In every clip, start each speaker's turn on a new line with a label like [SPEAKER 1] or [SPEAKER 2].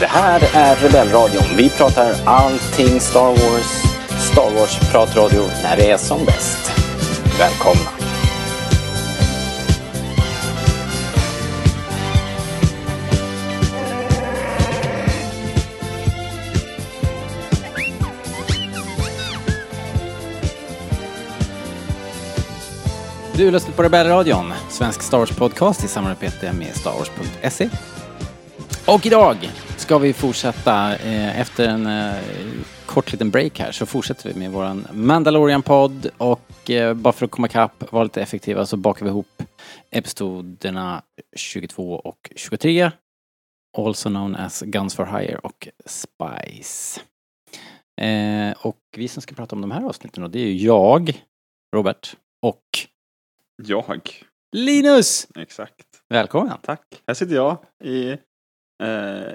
[SPEAKER 1] Det här är Rebellradion. Vi pratar allting Star Wars. Star Wars-pratradio när det är som bäst. Välkomna!
[SPEAKER 2] Du lyssnar på Rebellradion, svensk Star Wars-podcast i samarbete med starwars.se. Och idag ska vi fortsätta, eh, efter en eh, kort liten break här, så fortsätter vi med våran Mandalorian-podd och eh, bara för att komma ikapp, vara lite effektiva, så bakar vi ihop episoderna 22 och 23, also known as Guns for Hire och Spice. Eh, och vi som ska prata om de här avsnitten, och det är ju jag, Robert, och
[SPEAKER 3] Jag.
[SPEAKER 2] Linus!
[SPEAKER 3] Exakt.
[SPEAKER 2] Välkommen!
[SPEAKER 3] Tack. Här sitter jag i... Eh,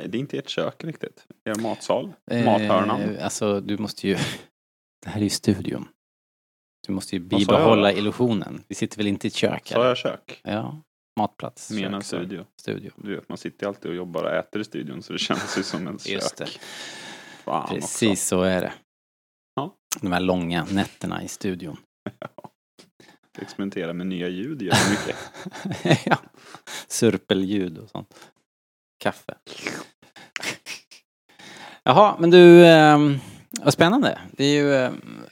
[SPEAKER 3] det är inte ert kök riktigt. Er matsal.
[SPEAKER 2] Eh,
[SPEAKER 3] Mathörnan.
[SPEAKER 2] alltså, du måste ju... Det här är ju studion. Du måste ju
[SPEAKER 3] sa jag
[SPEAKER 2] bibehålla
[SPEAKER 3] då?
[SPEAKER 2] illusionen. Vi sitter väl inte i ett kök?
[SPEAKER 3] Sa
[SPEAKER 2] eller?
[SPEAKER 3] jag kök?
[SPEAKER 2] Ja. Matplats.
[SPEAKER 3] Menar
[SPEAKER 2] kök, så-
[SPEAKER 3] studio.
[SPEAKER 2] Studio.
[SPEAKER 3] Du vet, man sitter alltid och jobbar och äter i studion så det känns ju som en kök.
[SPEAKER 2] Just det.
[SPEAKER 3] Fan
[SPEAKER 2] Precis
[SPEAKER 3] Också.
[SPEAKER 2] så är det.
[SPEAKER 3] Ja.
[SPEAKER 2] De här långa nätterna i studion.
[SPEAKER 3] Experimentera med nya ljud gör det mycket.
[SPEAKER 2] ja. Surpelljud och sånt. Kaffe. Jaha, men du, ehm, vad spännande. Det är ju, ehm,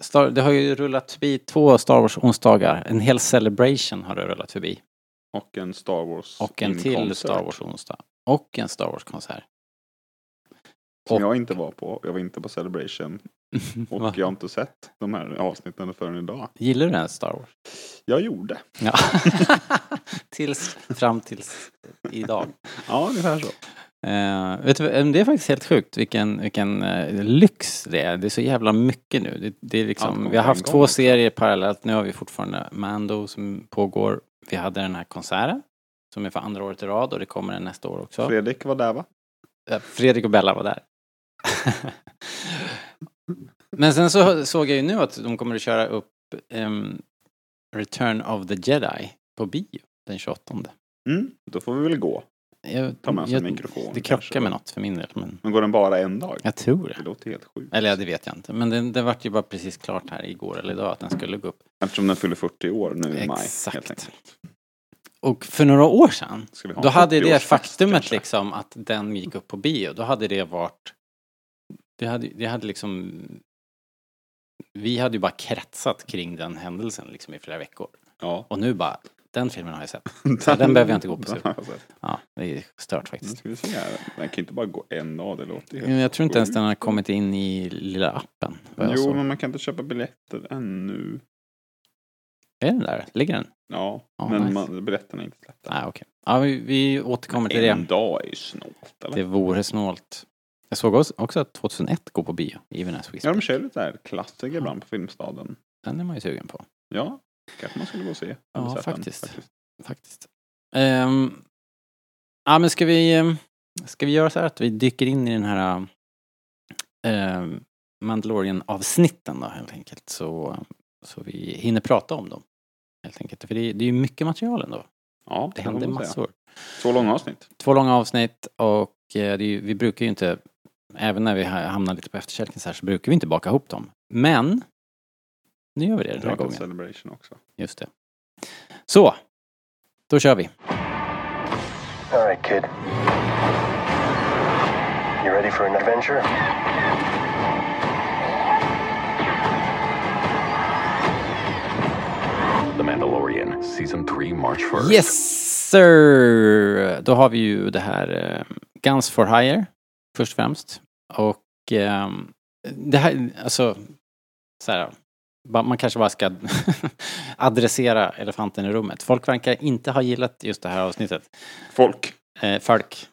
[SPEAKER 2] Star, det har ju rullat förbi två Star Wars-onsdagar. En hel celebration har det rullat förbi.
[SPEAKER 3] Och en Star Wars
[SPEAKER 2] Och en till
[SPEAKER 3] filmkonsert
[SPEAKER 2] Star Wars-onsdag. Och en Star Wars-konsert.
[SPEAKER 3] Som
[SPEAKER 2] och-
[SPEAKER 3] jag inte var på. Jag var inte på Celebration. Och
[SPEAKER 2] Va?
[SPEAKER 3] jag har inte sett de här avsnitten förrän idag.
[SPEAKER 2] Gillar du den här Star Wars?
[SPEAKER 3] Jag gjorde.
[SPEAKER 2] Ja. tills, fram tills idag.
[SPEAKER 3] Ja, ungefär så.
[SPEAKER 2] Eh, vet du, vad, det är faktiskt helt sjukt vilken, vilken eh, lyx det är. Det är så jävla mycket nu. Det, det är
[SPEAKER 3] Allt
[SPEAKER 2] liksom,
[SPEAKER 3] kommer
[SPEAKER 2] vi har
[SPEAKER 3] på
[SPEAKER 2] haft
[SPEAKER 3] en
[SPEAKER 2] två
[SPEAKER 3] gång, liksom.
[SPEAKER 2] serier parallellt. Nu har vi fortfarande Mando som pågår. Vi hade den här konserten som är för andra året i rad och det kommer den nästa år också.
[SPEAKER 3] Fredrik var där va?
[SPEAKER 2] Eh, Fredrik och Bella var där. Men sen så såg jag ju nu att de kommer att köra upp ehm, Return of the Jedi på bio den 28.
[SPEAKER 3] Mm. Då får vi väl gå.
[SPEAKER 2] Jag,
[SPEAKER 3] Ta med sig
[SPEAKER 2] jag-
[SPEAKER 3] mikrofon
[SPEAKER 2] Det
[SPEAKER 3] kanske.
[SPEAKER 2] krockar med något för min del, men
[SPEAKER 3] Men går den bara en dag?
[SPEAKER 2] jag tror det.
[SPEAKER 3] Det låter helt sjukt.
[SPEAKER 2] Eller ja, det vet jag inte. Men det, det vart ju bara precis klart här igår eller idag att den skulle gå upp.
[SPEAKER 3] Eftersom den fyller 40 år nu i maj.
[SPEAKER 2] Exakt.
[SPEAKER 3] helt enkelt.
[SPEAKER 2] Och för några år sedan,
[SPEAKER 3] Ska vi ha
[SPEAKER 2] då
[SPEAKER 3] en
[SPEAKER 2] hade det
[SPEAKER 3] 40-årsfest
[SPEAKER 2] faktumet
[SPEAKER 3] kanske?
[SPEAKER 2] liksom att den gick upp på bio, då hade det varit... Det hade, det hade liksom... Vi hade ju bara kretsat kring den händelsen liksom i flera veckor.
[SPEAKER 3] Ja.
[SPEAKER 2] Och nu bara, den filmen har jag sett. Ja, den behöver jag inte gå på
[SPEAKER 3] Den
[SPEAKER 2] super.
[SPEAKER 3] har jag sett.
[SPEAKER 2] Ja, det är stört
[SPEAKER 3] Nu
[SPEAKER 2] faktiskt.
[SPEAKER 3] ska vi se här. Den kan ju inte bara gå en dag, Mm, det låter ju
[SPEAKER 2] Men Jag tror inte ens den Alltså. har kommit in i lilla appen. Vad jag
[SPEAKER 3] Jo,
[SPEAKER 2] såg.
[SPEAKER 3] men man kan inte köpa biljetter ännu.
[SPEAKER 2] Är den där? Ligger den?
[SPEAKER 3] Ja,
[SPEAKER 2] Ja,
[SPEAKER 3] men
[SPEAKER 2] nice.
[SPEAKER 3] man, biljetterna är inte släppta.
[SPEAKER 2] Nej, okej. Ja, vi, vi återkommer till det.
[SPEAKER 3] en dag är ju snålt, eller?
[SPEAKER 2] Det vore snålt. Jag såg också- också att 2001 går på bio, Even as we
[SPEAKER 3] Ja, de
[SPEAKER 2] speak.
[SPEAKER 3] kör lite här klassiker ibland på Filmstaden.
[SPEAKER 2] Den är man ju sugen på.
[SPEAKER 3] Ja, kanske man skulle gå och se. Jag har
[SPEAKER 2] Ja,
[SPEAKER 3] aldrig sett den,
[SPEAKER 2] faktiskt. faktiskt. Ehm, ja, men ska vi, ehm, ska vi göra så här att vi dyker in i den här ehm, Mandalorian-avsnitten då helt enkelt. Så, så vi hinner prata om dem. Helt enkelt. För det, är- det är ju mycket material ändå.
[SPEAKER 3] Ja,
[SPEAKER 2] Det händer
[SPEAKER 3] massor.
[SPEAKER 2] massor.
[SPEAKER 3] Två långa avsnitt.
[SPEAKER 2] Två långa avsnitt och eh, det är ju, vi brukar ju inte, även när vi ha- hamnar lite på efterkälken så här, så brukar vi inte baka ihop dem. Men nu gör vi det den
[SPEAKER 3] Det
[SPEAKER 2] här
[SPEAKER 3] har gått
[SPEAKER 2] gången.
[SPEAKER 3] Celebration också.
[SPEAKER 2] Just det. Så, då kör vi.
[SPEAKER 4] All right, kid. You ready for an adventure?
[SPEAKER 5] The Mandalorian, Season 3, March 1st.
[SPEAKER 2] Yes sir! Då har vi ju det här eh, Guns for Hire, först och främst. Och ehm, det här, alltså, så här, ba- man kanske bara ska adressera elefanten i rummet. Folk verkar inte ha gillat just det här avsnittet.
[SPEAKER 3] Folk.
[SPEAKER 2] Eh, folk.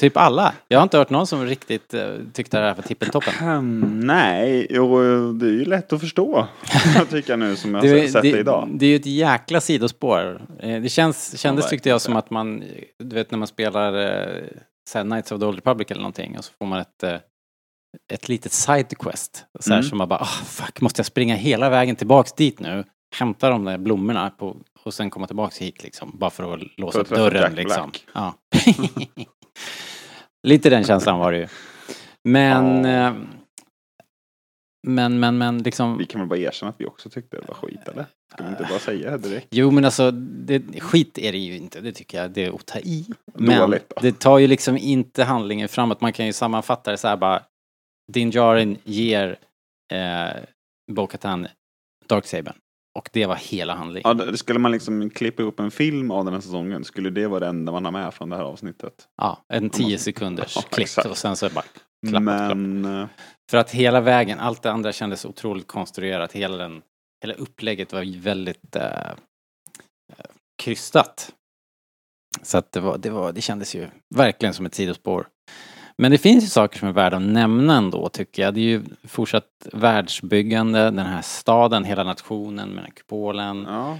[SPEAKER 2] Typ alla. Jag har inte hört någon som riktigt eh, tyckte det här var tippeltoppen.
[SPEAKER 3] Hmm, nej, jo, det är ju lätt att förstå. jag tycker nu som jag
[SPEAKER 2] Det,
[SPEAKER 3] har sett det, idag.
[SPEAKER 2] det är ju ett jäkla sidospår. Eh, Det känns, kändes
[SPEAKER 3] verkligen.
[SPEAKER 2] tyckte jag som att man, du vet när man spelar eh, så här Knights of the Old Republic eller någonting och så får man ett, eh, ett litet sidequest. Så här
[SPEAKER 3] Mm.
[SPEAKER 2] som man bara, ah fuck, måste jag springa hela vägen tillbaks dit nu? Hämta de där blommorna på, och sen komma tillbaks hit liksom. Bara för att låsa
[SPEAKER 3] För att träffa
[SPEAKER 2] dörren
[SPEAKER 3] Jack
[SPEAKER 2] liksom.
[SPEAKER 3] Black.
[SPEAKER 2] Ja. Lite den känslan var det ju. Men, eh, men, men, men liksom.
[SPEAKER 3] Vi kan väl bara erkänna att vi också tyckte det var skit eller? Ska vi inte bara säga det direkt?
[SPEAKER 2] Jo men alltså, det, skit är det ju inte, det tycker jag, det är att ta i. Men
[SPEAKER 3] Dåligt då.
[SPEAKER 2] det tar ju liksom inte handlingen framåt, man kan ju sammanfatta det så här bara, Din Djarin ger eh, Bo-Katan Darksabern. Och det var hela handlingen.
[SPEAKER 3] Ja, det- skulle man liksom klippa ihop en film av den här säsongen skulle det vara det enda man har med från det här avsnittet.
[SPEAKER 2] Ja, en 10 sekunders
[SPEAKER 3] Ja,
[SPEAKER 2] klipp
[SPEAKER 3] exakt.
[SPEAKER 2] och sen så är det bara klappat, klappat.
[SPEAKER 3] Men eh,
[SPEAKER 2] För att hela vägen, allt det andra kändes otroligt konstruerat, hela, den, hela upplägget var ju väldigt eh, eh, krystat. Så att det, var, det, var, det kändes ju verkligen som ett sidospår. Men det finns ju saker som är värda att nämna ändå tycker jag. Det är ju fortsatt världsbyggande, den här staden, hela nationen med den här kupolen.
[SPEAKER 3] ja,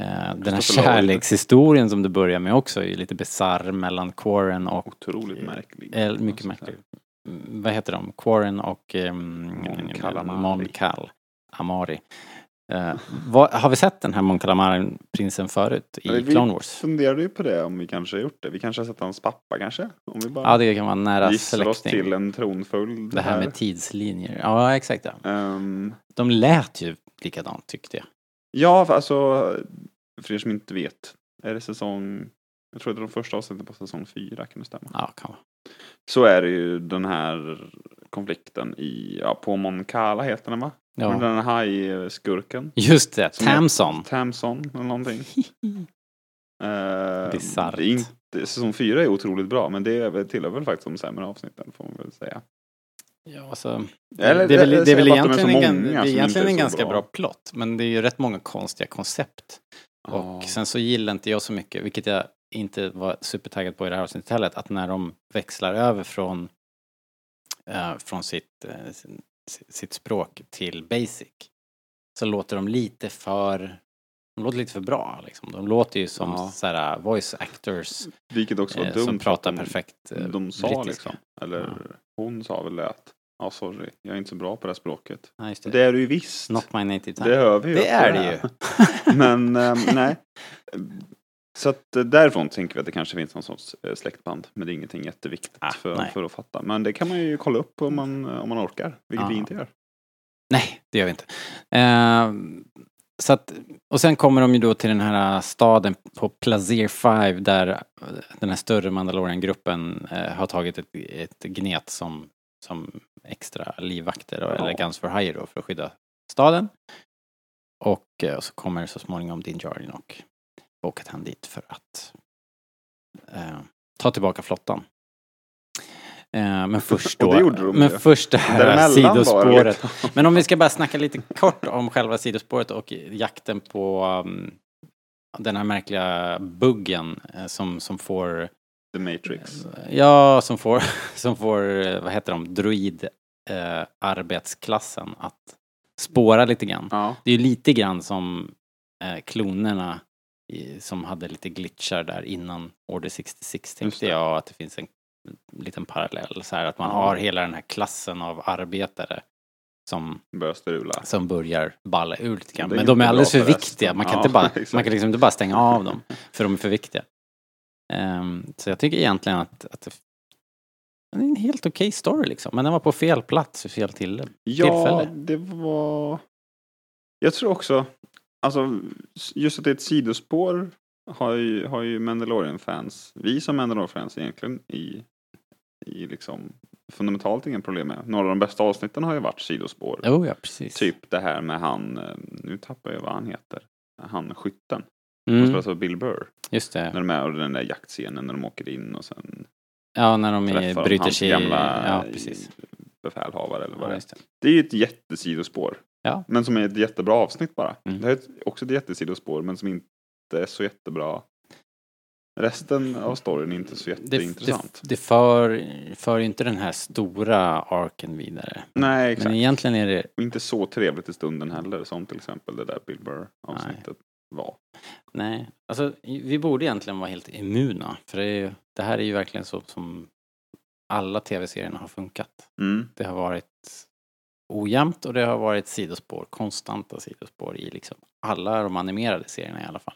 [SPEAKER 2] Eh, den här
[SPEAKER 3] Christopher Lloyd.
[SPEAKER 2] kärlekshistorien som du börjar med också är ju lite bisarr mellan Quarren och
[SPEAKER 3] otroligt märklig.
[SPEAKER 2] Eh, mycket märkligt. Mm, Vad heter de? Quarren och ehm,
[SPEAKER 3] Mon
[SPEAKER 2] Moncal
[SPEAKER 3] Calamari.
[SPEAKER 2] Moncal Amari. Eh, vad, har vi sett den här Mon Calamari, prinsen förut i
[SPEAKER 3] Ja, vi-
[SPEAKER 2] Clone Wars?
[SPEAKER 3] Funderar ju på det om vi kanske har gjort det. Vi kanske har sett hans pappa kanske? Om vi bara
[SPEAKER 2] Ja, det kan vara nära
[SPEAKER 3] gissar oss
[SPEAKER 2] släkting.
[SPEAKER 3] till en tronföljd.
[SPEAKER 2] Det här med tidslinjer. Ja, exakt. Ja.
[SPEAKER 3] Ehm,
[SPEAKER 2] De lät ju likadant tyckte jag.
[SPEAKER 3] Ja, för alltså, för er som inte vet, är det säsong, jag tror det är de första avsnitten på säsong fyra, kan det stämma?
[SPEAKER 2] Ja, kan vara.
[SPEAKER 3] Så är det ju den här konflikten i, ja, på Moncala heter den va? Med
[SPEAKER 2] Ja.
[SPEAKER 3] den här hajskurken,
[SPEAKER 2] Just det,
[SPEAKER 3] Mm. Som är-
[SPEAKER 2] Tamson.
[SPEAKER 3] Tamson eller någonting. Eh,
[SPEAKER 2] Bisarrt.
[SPEAKER 3] det är inte, säsong fyra är otroligt bra, men det är väl- tillhör väl faktiskt de sämre avsnitten, får man väl säga.
[SPEAKER 2] Ja, alltså,
[SPEAKER 3] Eller-
[SPEAKER 2] det är väl,
[SPEAKER 3] eller
[SPEAKER 2] det är
[SPEAKER 3] säger
[SPEAKER 2] väl
[SPEAKER 3] bara att de är så
[SPEAKER 2] egentligen, en, gan-
[SPEAKER 3] många
[SPEAKER 2] det
[SPEAKER 3] som inte
[SPEAKER 2] är egentligen
[SPEAKER 3] är
[SPEAKER 2] en
[SPEAKER 3] så
[SPEAKER 2] ganska
[SPEAKER 3] bra.
[SPEAKER 2] bra plott, men det är ju rätt många konstiga koncept. Och sen så gillar inte jag så mycket, vilket jag inte var supertaggad på i det här avsnittet heller, att när de växlar över från, eh, från sitt, eh, sin- sitt språk till basic så låter de lite för, de låter lite för bra liksom. De låter ju som
[SPEAKER 3] Ja.
[SPEAKER 2] så här, voice actors
[SPEAKER 3] Vilket också var
[SPEAKER 2] eh,
[SPEAKER 3] dumt.
[SPEAKER 2] som
[SPEAKER 3] för
[SPEAKER 2] pratar
[SPEAKER 3] att de-
[SPEAKER 2] perfekt eh,
[SPEAKER 3] de sa
[SPEAKER 2] brittiska.
[SPEAKER 3] liksom, Eller hon sa väl det att, ja sorry, jag är inte så bra på det här språket.
[SPEAKER 2] Nej, just det.
[SPEAKER 3] Det är du ju visst.
[SPEAKER 2] Eh, Not my native
[SPEAKER 3] Det
[SPEAKER 2] tongue.
[SPEAKER 3] hör vi ju.
[SPEAKER 2] Det
[SPEAKER 3] också
[SPEAKER 2] är det
[SPEAKER 3] här.
[SPEAKER 2] ju.
[SPEAKER 3] Men ehm, nej. Så att eh, därifrån tänker vi att det kanske finns någon sorts eh, släktband. Men det är ingenting jätteviktigt
[SPEAKER 2] Ah,
[SPEAKER 3] för,
[SPEAKER 2] nej.
[SPEAKER 3] för att fatta. Men det kan man ju kolla upp om man, eh, om man orkar. Vilket vi
[SPEAKER 2] Ja.
[SPEAKER 3] inte gör.
[SPEAKER 2] Nej, det gör vi inte. Eh, så att, och sen kommer de ju då till den här staden på Plazier 5 där eh, den här större Mandalorian-gruppen eh, har tagit ett, ett gnet som, som extra livvakter och,
[SPEAKER 3] Ja.
[SPEAKER 2] eller Guns for Hire då, för att skydda staden. Och, eh, och så kommer så småningom Din Djarin och Bo-Katan dit för att eh, ta tillbaka flottan. Eh, men först
[SPEAKER 3] Och
[SPEAKER 2] då,
[SPEAKER 3] det gjorde de
[SPEAKER 2] men
[SPEAKER 3] ju.
[SPEAKER 2] först det här
[SPEAKER 3] Däremellan var det
[SPEAKER 2] sidospåret.
[SPEAKER 3] liksom.
[SPEAKER 2] Men om vi ska bara snacka lite kort om själva sidospåret och jakten på um, den här märkliga buggen eh, som, som får, eh,
[SPEAKER 3] The Matrix.
[SPEAKER 2] ja, som får, som får, eh, vad heter de, droid eh, arbetsklassen att spåra lite grann.
[SPEAKER 3] Ja.
[SPEAKER 2] Det är ju lite grann som eh, klonerna i, som hade lite glitchar där innan Order 66
[SPEAKER 3] Just
[SPEAKER 2] tänkte
[SPEAKER 3] det.
[SPEAKER 2] jag att det finns en liten parallell så här att man
[SPEAKER 3] Ja.
[SPEAKER 2] har hela den här klassen av arbetare som
[SPEAKER 3] Börjar strula.
[SPEAKER 2] som börjar balla ur lite grann.
[SPEAKER 3] Det är
[SPEAKER 2] Men de är
[SPEAKER 3] inte
[SPEAKER 2] alldeles
[SPEAKER 3] bra
[SPEAKER 2] för
[SPEAKER 3] för resten.
[SPEAKER 2] viktiga. Man kan,
[SPEAKER 3] Ja,
[SPEAKER 2] inte bara,
[SPEAKER 3] exakt.
[SPEAKER 2] man kan liksom inte bara stänga av dem, för de är för viktiga. Ehm, så jag tycker egentligen att, att det, det är en helt okej story liksom. Men den var på fel plats vid fel till,
[SPEAKER 3] Ja,
[SPEAKER 2] tillfälle.
[SPEAKER 3] det var... Jag tror också, alltså just att det är ett sidospår har ju, har ju Mandalorian-fans, vi som Mandalorian-fans egentligen i, i liksom fundamentalt ingen problem med. Några av de bästa avsnitten har ju varit sidospår.
[SPEAKER 2] Jo, ja, precis.
[SPEAKER 3] Typ det här med han, eh, nu tappar jag vad han heter, han skytten. Mm.
[SPEAKER 2] Mm,
[SPEAKER 3] Spelas av Bill Burr.
[SPEAKER 2] just det.
[SPEAKER 3] När de är och den där jaktscenen när de åker in och sen
[SPEAKER 2] Ja, när de
[SPEAKER 3] träffar
[SPEAKER 2] i-
[SPEAKER 3] de
[SPEAKER 2] bryter
[SPEAKER 3] hans
[SPEAKER 2] sig i...
[SPEAKER 3] gamla eh,
[SPEAKER 2] Ja, precis.
[SPEAKER 3] befälhavare eller vad
[SPEAKER 2] Ja,
[SPEAKER 3] det är.
[SPEAKER 2] just det.
[SPEAKER 3] Det är ju ett jättesidospår.
[SPEAKER 2] Ja.
[SPEAKER 3] Men som är ett jättebra avsnitt bara.
[SPEAKER 2] Mm.
[SPEAKER 3] Det här är ett- också ett jättesidospår men som inte är så jättebra. Resten av storyn är inte så
[SPEAKER 2] Det, det,
[SPEAKER 3] jätteintressant.
[SPEAKER 2] det för, för ju inte den här stora arken vidare.
[SPEAKER 3] Nej, exakt.
[SPEAKER 2] Men egentligen är det...
[SPEAKER 3] Och inte så trevligt i stunden heller som till exempel det där Bill Burr-avsnittet var.
[SPEAKER 2] Nej, alltså vi borde egentligen vara helt immuna. För det, är, ju- det här är ju verkligen så som alla tv-serierna har funkat.
[SPEAKER 3] Mm.
[SPEAKER 2] Det har varit ojämnt och det har varit sidospår, konstanta sidospår i liksom alla de animerade serierna i alla fall.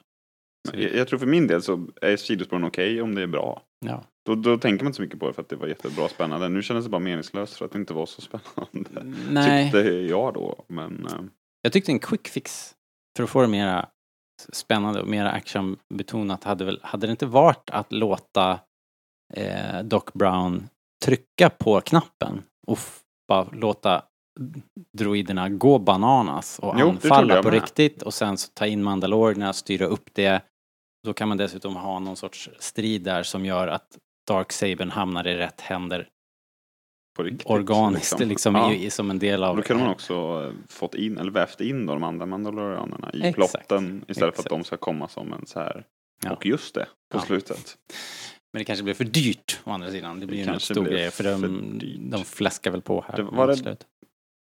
[SPEAKER 2] Så
[SPEAKER 3] Men Jag, jag tror för min del så är sidospåren okej om det är bra.
[SPEAKER 2] Ja.
[SPEAKER 3] Då, då tänker man inte så mycket på det för att det var jättebra och spännande. Nu kändes det bara meningslöst för att det inte var så spännande.
[SPEAKER 2] Nej,
[SPEAKER 3] Tyckte jag då. Men eh,
[SPEAKER 2] jag tyckte en quick fix för att få det mera spännande och mera actionbetonat hade väl, hade det inte varit att låta eh, Doc Brown trycka på knappen och f- bara låta droiderna gå bananas och
[SPEAKER 3] Jo, det trodde
[SPEAKER 2] anfalla
[SPEAKER 3] jag
[SPEAKER 2] på
[SPEAKER 3] med.
[SPEAKER 2] riktigt och sen så ta in mandalorerna, styra upp det. Då kan man dessutom ha någon sorts strid där som gör att Dark Saber hamnar i rätt händer
[SPEAKER 3] på riktigt.
[SPEAKER 2] organiskt, liksom,
[SPEAKER 3] Ja.
[SPEAKER 2] i, i, som en del
[SPEAKER 3] Och
[SPEAKER 2] av...
[SPEAKER 3] Då kunde man också eh, fått in, eller vävt in då de andra mandalorianerna i
[SPEAKER 2] Exakt.
[SPEAKER 3] plotten istället för
[SPEAKER 2] Exakt.
[SPEAKER 3] att de ska komma som en så här,
[SPEAKER 2] Ja.
[SPEAKER 3] och just det, på
[SPEAKER 2] Ja.
[SPEAKER 3] slutet.
[SPEAKER 2] Men det kanske blir för dyrt å andra sidan. Det blir ju en
[SPEAKER 3] kanske
[SPEAKER 2] stor
[SPEAKER 3] blir
[SPEAKER 2] grej för
[SPEAKER 3] för
[SPEAKER 2] de,
[SPEAKER 3] dyrt.
[SPEAKER 2] de fläskar väl på här.
[SPEAKER 3] Det- var det-
[SPEAKER 2] mot slut.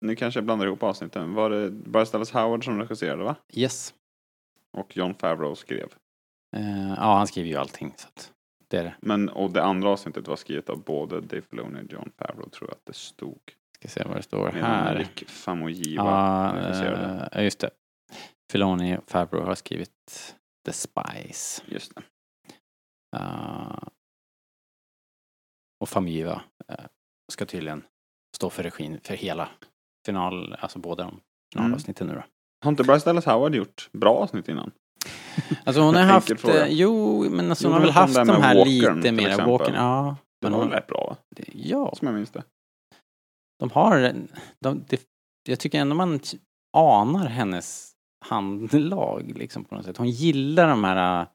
[SPEAKER 3] Nu kanske jag blandar ihop avsnitten. Var det Bryce Dallas Howard som regisserade va?
[SPEAKER 2] Yes.
[SPEAKER 3] Och John Favreau skrev.
[SPEAKER 2] Eh, ja, han skriver ju allting. Så att det är det.
[SPEAKER 3] Men, och det andra avsnittet var skrivet av både Dave Filoni och John Favreau tror jag att det stod.
[SPEAKER 2] Ska se vad det står
[SPEAKER 3] Medan
[SPEAKER 2] här.
[SPEAKER 3] Rick Famuyiwa
[SPEAKER 2] Ja,
[SPEAKER 3] regisserade.
[SPEAKER 2] eh, just det. Filoni och Fabro har skrivit The Spice.
[SPEAKER 3] Just det.
[SPEAKER 2] Eh, och Famiva eh, ska tydligen stå för regin för hela final, alltså båda
[SPEAKER 3] Mm.
[SPEAKER 2] de finalavsnitten nu då.
[SPEAKER 3] Har inte Bryce Dallas Howard gjort bra avsnitt innan?
[SPEAKER 2] Alltså hon har
[SPEAKER 3] Enkel
[SPEAKER 2] haft,
[SPEAKER 3] fråga.
[SPEAKER 2] eh, jo men alltså
[SPEAKER 3] Jo,
[SPEAKER 2] hon har
[SPEAKER 3] men
[SPEAKER 2] väl
[SPEAKER 3] som
[SPEAKER 2] haft
[SPEAKER 3] där
[SPEAKER 2] de
[SPEAKER 3] med
[SPEAKER 2] här
[SPEAKER 3] Walkern,
[SPEAKER 2] lite
[SPEAKER 3] till
[SPEAKER 2] mera,
[SPEAKER 3] exempel.
[SPEAKER 2] Walkern, ja.
[SPEAKER 3] Det
[SPEAKER 2] Men
[SPEAKER 3] var
[SPEAKER 2] hon,
[SPEAKER 3] väl rätt bra va?
[SPEAKER 2] ja,
[SPEAKER 3] Som jag minns det.
[SPEAKER 2] de har, en- de, det- jag tycker ändå man t- anar hennes handlag liksom på något sätt. Hon gillar de här, äh,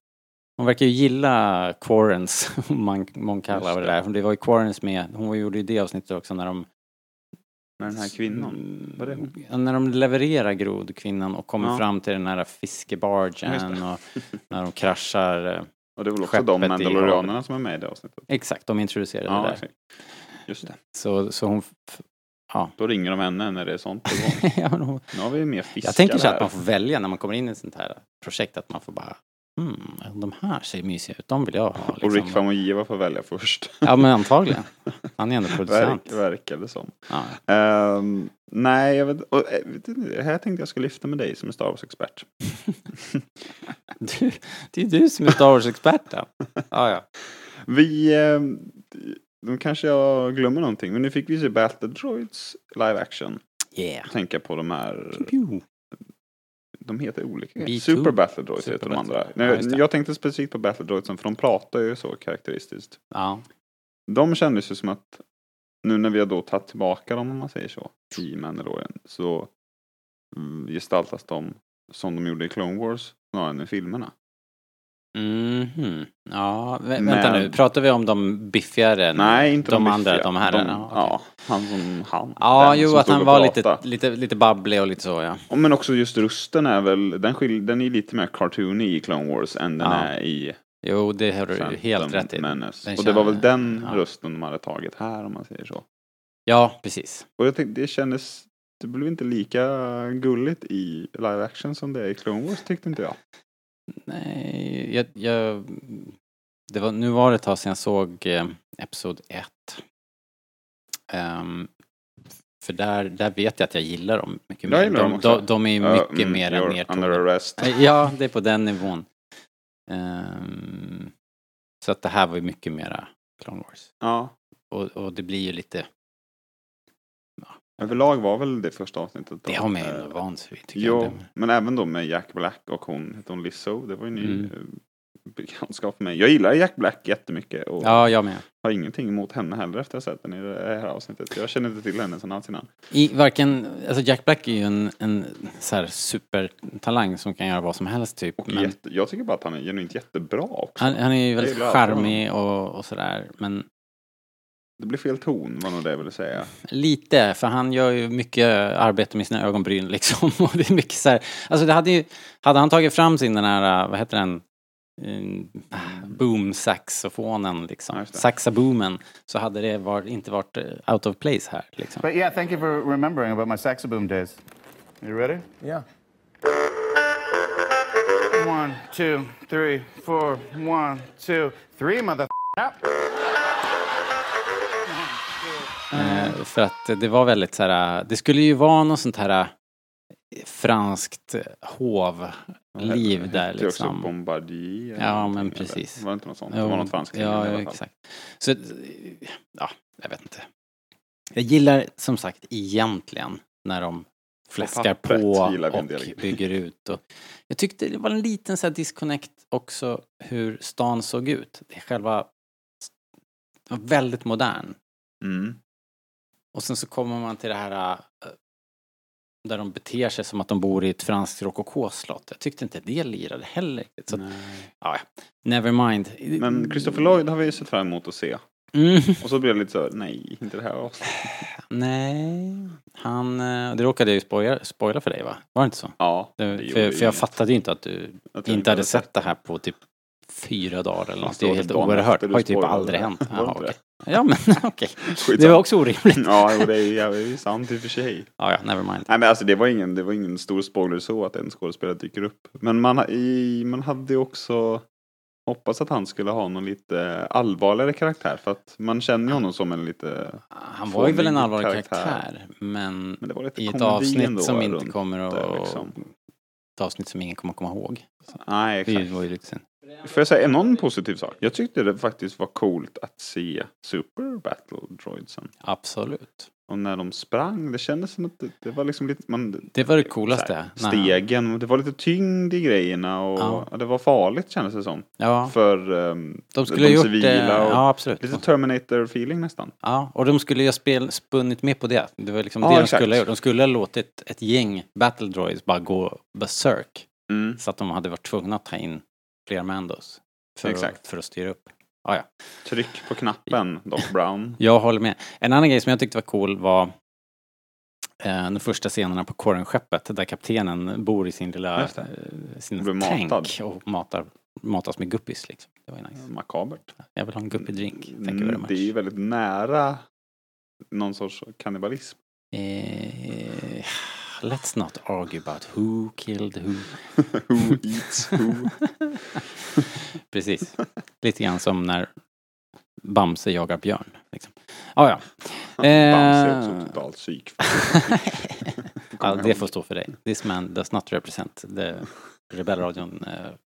[SPEAKER 2] hon verkar ju gilla Quarrens, om man, man kallar
[SPEAKER 3] Just
[SPEAKER 2] det
[SPEAKER 3] det.
[SPEAKER 2] där. För Det var ju Quarrens med, hon gjorde ju det avsnittet också när de
[SPEAKER 3] Med den här
[SPEAKER 2] Mm.
[SPEAKER 3] kvinnan. Var det hon?
[SPEAKER 2] Ja, Mm, När de levererar grodkvinnan och kommer
[SPEAKER 3] Ja.
[SPEAKER 2] fram till den här
[SPEAKER 3] Just
[SPEAKER 2] fiskebargen
[SPEAKER 3] det.
[SPEAKER 2] och när de kraschar. eh,
[SPEAKER 3] Och det är väl också
[SPEAKER 2] Skeppet
[SPEAKER 3] de
[SPEAKER 2] i
[SPEAKER 3] Mandalorianerna
[SPEAKER 2] havet.
[SPEAKER 3] som är med i det avsnittet?
[SPEAKER 2] Exakt, de introducerade det
[SPEAKER 3] Ja,
[SPEAKER 2] där.
[SPEAKER 3] exakt. Just det.
[SPEAKER 2] Så, så hon...
[SPEAKER 3] Då ringer de henne när det är sånt på gång.
[SPEAKER 2] ja, men hon
[SPEAKER 3] Nu har vi mer fiskar
[SPEAKER 2] jag tänker så
[SPEAKER 3] här.
[SPEAKER 2] att man får välja när man kommer in i ett sånt här projekt att man får bara Hmm, de här ser mysiga ut, de vill jag ha.
[SPEAKER 3] Och Rick
[SPEAKER 2] Liksom.
[SPEAKER 3] Famuyiwa får välja först.
[SPEAKER 2] Ja men antagligen. Han är ändå
[SPEAKER 3] Verk,
[SPEAKER 2] producent.
[SPEAKER 3] verkar det som.
[SPEAKER 2] Ja.
[SPEAKER 3] Ehm, nej, jag vet, och, eh, vet inte, det här tänkte jag skulle lyfta med dig som är Star Wars-expert.
[SPEAKER 2] Du, det är du som är Star Wars-experten. Ja, ja.
[SPEAKER 3] Vi, ehm, nu kanske jag glömmer någonting, men nu fick vi se Battle Droids live action.
[SPEAKER 2] Yeah.
[SPEAKER 3] Tänka på de här,
[SPEAKER 2] Pew, pew.
[SPEAKER 3] de heter olika.
[SPEAKER 2] B2.
[SPEAKER 3] Super Battle Droids
[SPEAKER 2] Super
[SPEAKER 3] heter de
[SPEAKER 2] Battle
[SPEAKER 3] andra.
[SPEAKER 2] Droids. Ja,
[SPEAKER 3] Nej,
[SPEAKER 2] just det.
[SPEAKER 3] jag tänkte specifikt på Battle Droidsen, för de pratar ju så karaktäristiskt.
[SPEAKER 2] Ja.
[SPEAKER 3] De kändes ju som att nu när vi har då tagit tillbaka dem om man säger så i Mandalorian så mm, gestaltas de som de gjorde i Clone Wars snarare än i filmerna.
[SPEAKER 2] Mhm. ja. Vä-
[SPEAKER 3] Men-
[SPEAKER 2] Vänta nu, pratar vi om de biffigare nu?
[SPEAKER 3] Nej, inte de,
[SPEAKER 2] de andra,
[SPEAKER 3] biffiga.
[SPEAKER 2] de herrarna.
[SPEAKER 3] De-
[SPEAKER 2] okej.
[SPEAKER 3] Ja, han som han.
[SPEAKER 2] ja
[SPEAKER 3] den
[SPEAKER 2] jo,
[SPEAKER 3] som
[SPEAKER 2] att
[SPEAKER 3] stod
[SPEAKER 2] han
[SPEAKER 3] och
[SPEAKER 2] var
[SPEAKER 3] pratade.
[SPEAKER 2] lite, lite, lite babblig och lite så ja.
[SPEAKER 3] Och Men också just rösten är väl, den, skil, den är lite mer cartoony i Clone Wars än den
[SPEAKER 2] Ja.
[SPEAKER 3] är i
[SPEAKER 2] Jo, det har du ju helt
[SPEAKER 3] Phantom
[SPEAKER 2] rätt i.
[SPEAKER 3] Menace.
[SPEAKER 2] Den
[SPEAKER 3] Och det var väl
[SPEAKER 2] känner-
[SPEAKER 3] den
[SPEAKER 2] ja.
[SPEAKER 3] rösten de hade tagit här om man säger så.
[SPEAKER 2] Ja, precis.
[SPEAKER 3] Och jag tänkte, det kändes, det blev inte lika gulligt i live action som det är i Clone Wars tyckte inte jag.
[SPEAKER 2] Nej, jag... jag det var, nu var det ett tag sedan jag såg eh, Episod 1. Ehm, för där, där vet jag att jag gillar dem mycket
[SPEAKER 3] Jag
[SPEAKER 2] mer.
[SPEAKER 3] gillar dem
[SPEAKER 2] De,
[SPEAKER 3] också.
[SPEAKER 2] de, de är ju
[SPEAKER 3] Ja,
[SPEAKER 2] mycket
[SPEAKER 3] mm,
[SPEAKER 2] mer
[SPEAKER 3] you're Under
[SPEAKER 2] nertonade.
[SPEAKER 3] arrest.
[SPEAKER 2] Eh, Ja, det är på den nivån. Ehm, så att det här var ju mycket mera Clone Wars.
[SPEAKER 3] Ja.
[SPEAKER 2] Och, och det blir ju lite...
[SPEAKER 3] Överlag var väl det första avsnittet. då.
[SPEAKER 2] Det har man ju
[SPEAKER 3] Eh,
[SPEAKER 2] ändå vant sig vid, tycker
[SPEAKER 3] Jo,
[SPEAKER 2] jag.
[SPEAKER 3] men även då med Jack Black och hon, hette hon Lizzo, det var ju ny
[SPEAKER 2] Mm.
[SPEAKER 3] eh, bekantskap för mig. Jag gillar Jack Black jättemycket och
[SPEAKER 2] Ja, jag med.
[SPEAKER 3] har ingenting emot henne heller efter att ha sett den i det här avsnittet. Jag känner inte till henne sedan alls innan.
[SPEAKER 2] I varken, alltså Jack Black är ju en, en så här supertalang som kan göra vad som helst typ.
[SPEAKER 3] Och
[SPEAKER 2] Men
[SPEAKER 3] jätte, jag tycker bara att han är genuint jättebra också.
[SPEAKER 2] han, han är ju väldigt
[SPEAKER 3] gillar alltid honom.
[SPEAKER 2] charmig och, och sådär. Men
[SPEAKER 3] Det blir fel ton var nog det jag ville säga.
[SPEAKER 2] Lite, för han gör ju mycket arbete med sina ögonbryn liksom. Och det är mycket så här, alltså det hade ju, hade han tagit fram sin den här, vad heter den, Mm, boom-saxofonen
[SPEAKER 3] Ja,
[SPEAKER 2] liksom,
[SPEAKER 3] just det.
[SPEAKER 2] saxaboomen, så hade det var, inte varit eh, out of place här liksom.
[SPEAKER 6] But yeah, thank you for remembering about my saxoboom days. You ready?
[SPEAKER 7] Yeah.
[SPEAKER 6] One, two, three, four, one, two, three, mother.
[SPEAKER 2] Eh, För att eh, det var väldigt så här, eh, det skulle ju vara något sånt här eh, franskt eh, hovliv där
[SPEAKER 3] Mm-hmm. Det är också
[SPEAKER 2] liksom.
[SPEAKER 3] Bombardier. eller
[SPEAKER 2] Ja,
[SPEAKER 3] någonting,
[SPEAKER 2] men
[SPEAKER 3] eller?
[SPEAKER 2] precis.
[SPEAKER 3] Var det inte något sånt? Det var något franskt.
[SPEAKER 2] Ja,
[SPEAKER 3] i alla
[SPEAKER 2] ja
[SPEAKER 3] fall.
[SPEAKER 2] exakt. Så, eh, ja, jag vet inte. Jag gillar som sagt egentligen när de fläskar på,
[SPEAKER 3] pappret gillar vi en del.
[SPEAKER 2] och bygger ut. Och jag tyckte det var en liten så här disconnect också hur stan såg ut. Det är själva det var väldigt modern.
[SPEAKER 3] Mm.
[SPEAKER 2] Och sen så kommer man till det här eh, där de beter sig som att de bor i ett franskt rokokoslott. Jag tyckte inte det lirade heller. riktigt. Så, att- ja, ja. never mind.
[SPEAKER 3] Men Christopher Lloyd har vi ju sett fram emot att se.
[SPEAKER 2] Mm.
[SPEAKER 3] Och så blir det lite så, här, nej, inte det här avsnittet.
[SPEAKER 2] Nej, han... eh, Det råkade jag ju spoila, spoila för dig va? Var det inte så?
[SPEAKER 3] Ja,
[SPEAKER 2] Det,
[SPEAKER 3] det
[SPEAKER 2] för,
[SPEAKER 3] gjorde
[SPEAKER 2] för jag
[SPEAKER 3] ju
[SPEAKER 2] fattade ju inte att du
[SPEAKER 3] att jag
[SPEAKER 2] inte hade sett det här på typ fyra dagar eller något.
[SPEAKER 3] Fast
[SPEAKER 2] Det är
[SPEAKER 3] det
[SPEAKER 2] ju
[SPEAKER 3] var
[SPEAKER 2] helt
[SPEAKER 3] typ dagen efter
[SPEAKER 2] oerhört. Det
[SPEAKER 3] du
[SPEAKER 2] har ju typ
[SPEAKER 3] spoilade
[SPEAKER 2] aldrig
[SPEAKER 3] det.
[SPEAKER 2] hänt.
[SPEAKER 3] Var
[SPEAKER 2] Jaha,
[SPEAKER 3] inte det?
[SPEAKER 2] okej. Ja men okej. Det
[SPEAKER 3] Skitsamma.
[SPEAKER 2] var också orimligt.
[SPEAKER 3] Ja, jo, det är ju- ja, det är ju sant i och för sig.
[SPEAKER 2] Ja, ja, never mind.
[SPEAKER 3] Nej men alltså det var ingen, det var ingen stor spoiler så att en skådespelare dyker upp. Men man, ha- i, man hade ju också hoppats att han skulle ha någon lite allvarligare karaktär för att man känner ju honom som en lite,
[SPEAKER 2] Han var ju väl en
[SPEAKER 3] fånig
[SPEAKER 2] allvarlig
[SPEAKER 3] karaktär.
[SPEAKER 2] karaktär. Men
[SPEAKER 3] men det var lite
[SPEAKER 2] i ett
[SPEAKER 3] komedi ändå
[SPEAKER 2] avsnitt som
[SPEAKER 3] runt
[SPEAKER 2] inte kommer
[SPEAKER 3] det,
[SPEAKER 2] att...
[SPEAKER 3] liksom.
[SPEAKER 2] Ett avsnitt som ingen kommer att komma ihåg.
[SPEAKER 3] Nej
[SPEAKER 2] Det
[SPEAKER 3] exakt.
[SPEAKER 2] var ju liksom- lite synd.
[SPEAKER 3] Får jag säga en någon positiv sak? Jag tyckte det faktiskt var coolt att se Super Battle Droidsen.
[SPEAKER 2] Absolut.
[SPEAKER 3] Och när de sprang, det kändes som att det, det var liksom lite, man,
[SPEAKER 2] Det var det coolaste.
[SPEAKER 3] så här,
[SPEAKER 2] Nej.
[SPEAKER 3] stegen, och det var lite tyngd i grejerna och
[SPEAKER 2] Ja.
[SPEAKER 3] och det var farligt kändes det som.
[SPEAKER 2] Ja,
[SPEAKER 3] För ehm,
[SPEAKER 2] de skulle ha
[SPEAKER 3] de
[SPEAKER 2] gjort...
[SPEAKER 3] civila
[SPEAKER 2] eh,
[SPEAKER 3] och-
[SPEAKER 2] Ja, absolut.
[SPEAKER 3] Lite Terminator-feeling nästan.
[SPEAKER 2] Ja, och de skulle ju ha spel, spunnit med på det. Det var liksom
[SPEAKER 3] Ja,
[SPEAKER 2] det de
[SPEAKER 3] exakt.
[SPEAKER 2] skulle ha gjort. De skulle ha låtit ett gäng battle droids bara gå berserk. Så att de hade varit tvungna att ta in fler Mandos. För, Att,
[SPEAKER 3] Exakt.
[SPEAKER 2] för att styra upp. Ja, ja.
[SPEAKER 3] Tryck på knappen, Doc Brown.
[SPEAKER 2] Jag håller med. En annan grej som jag tyckte var cool var eh, de första scenerna på Korrenskeppet där kaptenen bor i sin lilla
[SPEAKER 3] Just
[SPEAKER 2] eh,
[SPEAKER 3] det. Blir
[SPEAKER 2] sin
[SPEAKER 3] matad.
[SPEAKER 2] tank och matar, matas med guppis. Liksom. Det var ju nice.
[SPEAKER 3] Eh, Makabert.
[SPEAKER 2] Jag vill ha en guppidrink. Thank you very
[SPEAKER 3] Mm,
[SPEAKER 2] much.
[SPEAKER 3] det är ju väldigt nära någon sorts kannibalism.
[SPEAKER 2] Eh, let's not argue about who killed who.
[SPEAKER 3] who eats who?
[SPEAKER 2] Precis. Lite grann som när Bamse jagar björn. Liksom. Ah, ja,
[SPEAKER 3] Bamse är
[SPEAKER 2] Eh.
[SPEAKER 3] också totalt psyk.
[SPEAKER 2] ja. Det får stå för dig. This man does not represent the rebellradion. eh.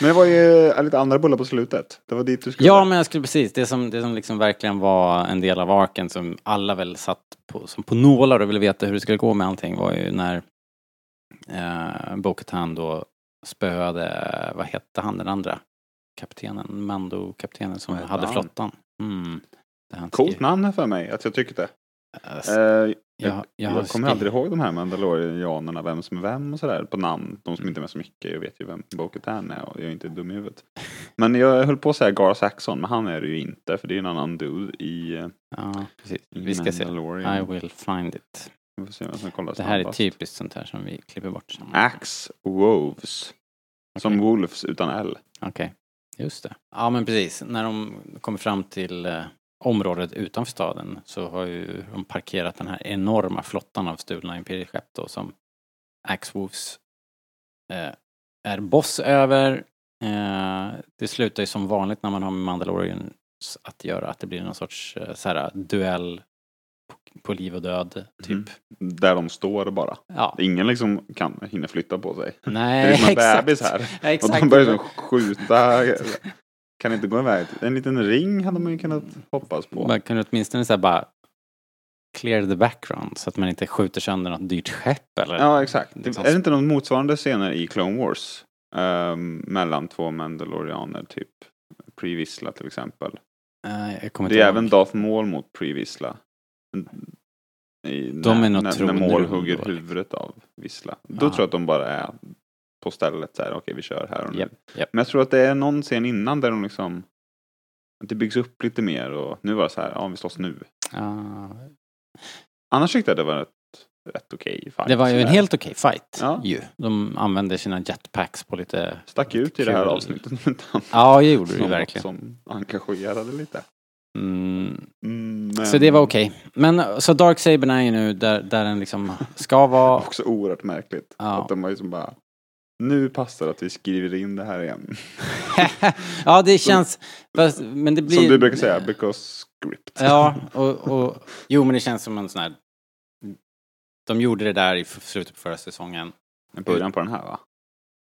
[SPEAKER 3] Men det var ju eh, lite andra bullar på slutet. Det var dit du skulle.
[SPEAKER 2] ja, men jag skulle precis, det som, det som liksom verkligen var en del av arken som alla väl satt på, som på nålar och ville veta hur det skulle gå med allting var ju när eh, Boketan då spöade, vad hette han den andra kaptenen, Mando-kaptenen som
[SPEAKER 3] Vad hette
[SPEAKER 2] hade
[SPEAKER 3] han?
[SPEAKER 2] flottan. Mm. Det han
[SPEAKER 3] Coolt
[SPEAKER 2] skrev-
[SPEAKER 3] namn här för mig, att jag tyckte.
[SPEAKER 2] Alltså,
[SPEAKER 3] Eh, jag,
[SPEAKER 2] jag, jag,
[SPEAKER 3] jag
[SPEAKER 2] har
[SPEAKER 3] kommer
[SPEAKER 2] skrivit-
[SPEAKER 3] aldrig ihåg de här mandalorianerna, vem som är vem och sådär, på namn. De som inte är med så mycket, jag vet ju vem Bo-Katan är och jag är inte dum i huvudet. Men jag höll på att säga Gar Saxon, men han är det ju inte, för det är ju en annan dude i, eh,
[SPEAKER 2] Ja, precis.
[SPEAKER 3] i
[SPEAKER 2] Vi ska se. I
[SPEAKER 3] Mandalorian.
[SPEAKER 2] will find it.
[SPEAKER 3] Vi får se vem som kollar
[SPEAKER 2] Det här är typ-
[SPEAKER 3] snabbast.
[SPEAKER 2] typiskt sånt här som vi klipper bort. sen.
[SPEAKER 3] Axe Woves. Som
[SPEAKER 2] Okej.
[SPEAKER 3] Wolves utan L.
[SPEAKER 2] Okej, just det. Ja, men precis. När de kommer fram till eh, området utanför staden så har ju de parkerat den här enorma flottan av stulna imperieskepp då som Axwolves eh, är boss över. Eh, det slutar ju som vanligt när man har med Mandalorians att göra, att det blir någon sorts eh, så här, duell på, på liv och död, typ.
[SPEAKER 3] Mm. Där de står bara.
[SPEAKER 2] Ja,
[SPEAKER 3] Ingen liksom kan hinna flytta på sig. Det
[SPEAKER 2] nej,
[SPEAKER 3] är som en
[SPEAKER 2] exakt.
[SPEAKER 3] bebis här.
[SPEAKER 2] Ja,
[SPEAKER 3] Och
[SPEAKER 2] exakt.
[SPEAKER 3] de börjar liksom skjuta. Kan inte gå iväg. En liten ring hade man ju kunnat hoppas på.
[SPEAKER 2] Man kunde åtminstone så här bara clear the background så att man inte skjuter sönder något dyrt skepp eller?
[SPEAKER 3] Ja, exakt. Det-
[SPEAKER 2] Liksom-
[SPEAKER 3] Är det inte någon motsvarande scener i Clone Wars? ehm, mellan två mandalorianer, typ Pre-Vissla till exempel.
[SPEAKER 2] Eh, jag kommer
[SPEAKER 3] Det är
[SPEAKER 2] ihåg.
[SPEAKER 3] även Darth Maul mot Pre-Vissla. I-
[SPEAKER 2] De är
[SPEAKER 3] när, när,
[SPEAKER 2] något
[SPEAKER 3] när
[SPEAKER 2] tron-
[SPEAKER 3] Maul
[SPEAKER 2] tron-
[SPEAKER 3] hugger
[SPEAKER 2] då,
[SPEAKER 3] huvudet av Vissla. Då
[SPEAKER 2] Aha.
[SPEAKER 3] tror jag att de bara är på stället så här, okej vi kör här och nu.
[SPEAKER 2] Japp, japp.
[SPEAKER 3] Men jag tror att det är någon scen innan där de liksom, att det byggs upp lite mer och nu var det så här, ja vi slåss nu.
[SPEAKER 2] Ah,
[SPEAKER 3] Annars tyckte jag det var rätt, rätt okej fight.
[SPEAKER 2] det var ju en
[SPEAKER 3] sådär.
[SPEAKER 2] helt okej fight
[SPEAKER 3] Ja.
[SPEAKER 2] ju. De använde sina jetpacks på lite...
[SPEAKER 3] Stack ut i det här
[SPEAKER 2] kul.
[SPEAKER 3] avsnittet. men utan
[SPEAKER 2] Ja, det gjorde det ju
[SPEAKER 3] något
[SPEAKER 2] verkligen.
[SPEAKER 3] Som engagerade lite.
[SPEAKER 2] Mm,
[SPEAKER 3] Mm, men-
[SPEAKER 2] Så det var okej. Men så Dark Saber är ju nu där, där den liksom ska vara.
[SPEAKER 3] Också oerhört märkligt.
[SPEAKER 2] Ja.
[SPEAKER 3] Att de var ju som bara, nu passar det att vi skriver in det här igen.
[SPEAKER 2] ja, det känns... Fast, men det blir...
[SPEAKER 3] Som du brukar säga, because script.
[SPEAKER 2] Ja, och, och... Jo, men det känns som en sån här... De gjorde det där i f- slutet på förra säsongen.
[SPEAKER 3] I början på den här va?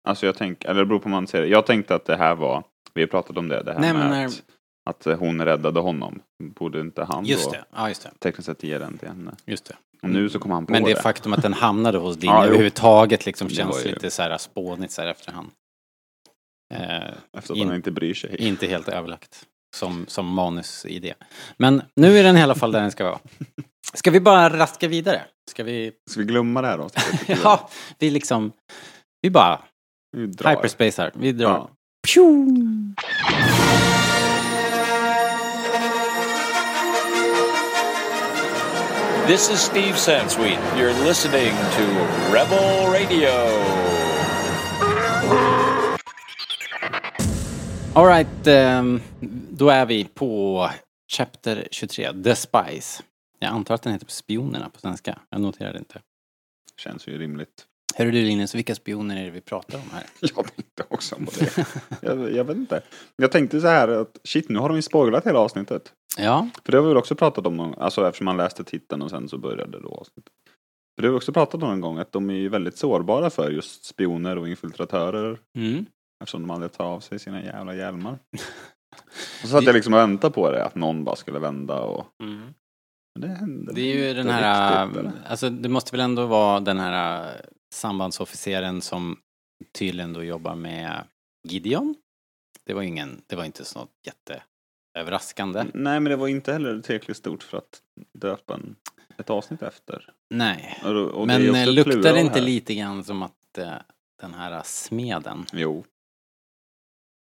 [SPEAKER 3] Alltså jag tänker, eller det beror på hur man ser det. Jag tänkte att det här var, vi har pratat om det, det här
[SPEAKER 2] Nej,
[SPEAKER 3] med
[SPEAKER 2] men när-
[SPEAKER 3] att, att eh, hon räddade honom. Borde inte han
[SPEAKER 2] Just
[SPEAKER 3] då
[SPEAKER 2] det. Ja, just det.
[SPEAKER 3] tekniskt sett ge den till henne?
[SPEAKER 2] Just det.
[SPEAKER 3] Och nu så kom han på
[SPEAKER 2] Men det,
[SPEAKER 3] det.
[SPEAKER 2] faktum att den hamnade hos din
[SPEAKER 3] Ja, jo.
[SPEAKER 2] överhuvudtaget liksom
[SPEAKER 3] Det
[SPEAKER 2] känns
[SPEAKER 3] var ju-
[SPEAKER 2] lite så här spånigt så här efterhand. Eh,
[SPEAKER 3] Efter att
[SPEAKER 2] in-
[SPEAKER 3] han inte bryr sig.
[SPEAKER 2] inte helt överlagt som, som manusidé. Men nu är den i alla fall där den ska vara. Ska vi bara raska vidare? Ska vi...
[SPEAKER 3] Ska vi glömma det här då?
[SPEAKER 2] Ja, vi liksom... Vi bara
[SPEAKER 3] Vi drar.
[SPEAKER 2] hyperspace här. Vi drar.
[SPEAKER 3] Ja.
[SPEAKER 7] This is Steve Sansweet. You're listening to Rebel Radio.
[SPEAKER 2] All right, ehm, då är vi på Chapter 23, The Spies. Jag antar att den heter Spionerna på svenska. Jag noterade inte.
[SPEAKER 3] Känns ju rimligt.
[SPEAKER 2] Hörru du Linus, vilka spioner är det vi pratar om här?
[SPEAKER 3] Jag tänkte också på det. jag, jag vet inte. Jag tänkte så här att shit, nu har de ju spoilat hela avsnittet.
[SPEAKER 2] Ja,
[SPEAKER 3] För det har vi väl också pratat om någon, alltså eftersom man läste titeln och sen så började då avsnittet. För det har vi också pratat om en gång att de är ju väldigt sårbara för just spioner och infiltratörer
[SPEAKER 2] mm.
[SPEAKER 3] eftersom de aldrig tar av sig sina jävla hjälmar. och så satt jag liksom och väntade på det, att någon bara skulle vända och... Men Mm. det hände
[SPEAKER 2] det är ju
[SPEAKER 3] inte
[SPEAKER 2] den här,
[SPEAKER 3] riktigt, eller?
[SPEAKER 2] alltså det måste väl ändå vara den här äh, sambandsofficeren som tydligen då jobbar med Gideon. Det var ju ingen, det var inte så något jätteöverraskande.
[SPEAKER 3] Nej men det var inte heller tillräckligt stort för att döpa en, ett avsnitt efter.
[SPEAKER 2] Nej,
[SPEAKER 3] Och, då- och det är ju
[SPEAKER 2] men
[SPEAKER 3] också
[SPEAKER 2] äh, luktar
[SPEAKER 3] plural
[SPEAKER 2] det inte
[SPEAKER 3] här.
[SPEAKER 2] lite grann som att äh, den här äh, smeden,
[SPEAKER 3] Jo,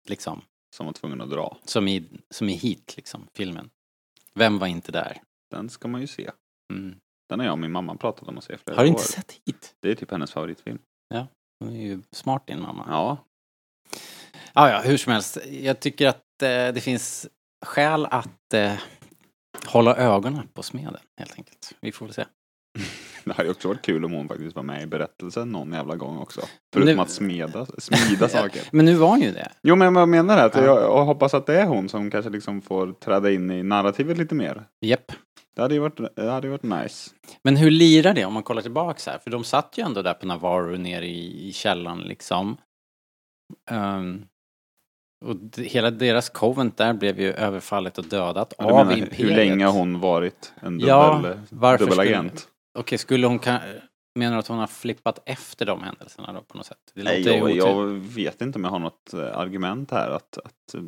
[SPEAKER 2] liksom,
[SPEAKER 3] som var tvungen att dra.
[SPEAKER 2] som i, som i Heat, liksom, filmen. Vem var inte där?
[SPEAKER 3] Den ska man ju se.
[SPEAKER 2] Mm.
[SPEAKER 3] Den har jag och min mamma pratat om att se flera
[SPEAKER 2] Har du
[SPEAKER 3] år.
[SPEAKER 2] inte sett Heat?
[SPEAKER 3] Det är typ hennes favoritfilm.
[SPEAKER 2] Hon är ju smart din mamma.
[SPEAKER 3] Ja,
[SPEAKER 2] Ja, ja, hur som helst. Jag tycker att eh, det finns skäl att eh, hålla ögonen på smeden, helt enkelt. Vi får väl se.
[SPEAKER 3] det hade ju också varit kul om hon faktiskt var med i berättelsen någon jävla gång också. Förutom
[SPEAKER 2] Nu-
[SPEAKER 3] att smeda, smida saker.
[SPEAKER 2] Men nu var ju det.
[SPEAKER 3] Jo men vad jag menar är att
[SPEAKER 2] Ja.
[SPEAKER 3] jag, jag hoppas att det är hon som kanske liksom får träda in i narrativet lite mer.
[SPEAKER 2] Japp.
[SPEAKER 3] Det hade ju varit, det hade ju varit nice.
[SPEAKER 2] Men hur lirar det om man kollar tillbaks här? För de satt ju ändå där på Navarro nere i, i källaren liksom. Ehm, och d- hela deras covent där blev ju överfallet och dödat
[SPEAKER 3] Jag
[SPEAKER 2] av
[SPEAKER 3] menar,
[SPEAKER 2] imperiet.
[SPEAKER 3] hur länge har hon varit en dubbel,
[SPEAKER 2] Ja, varför
[SPEAKER 3] dubbelagent?
[SPEAKER 2] Okej, skulle hon... Kan... Menar du att hon har flippat efter de händelserna då på något sätt? Det
[SPEAKER 3] Nej,
[SPEAKER 2] låter ju
[SPEAKER 3] jag,
[SPEAKER 2] otydligt.
[SPEAKER 3] jag vet inte om jag har något eh, argument här att, att eh,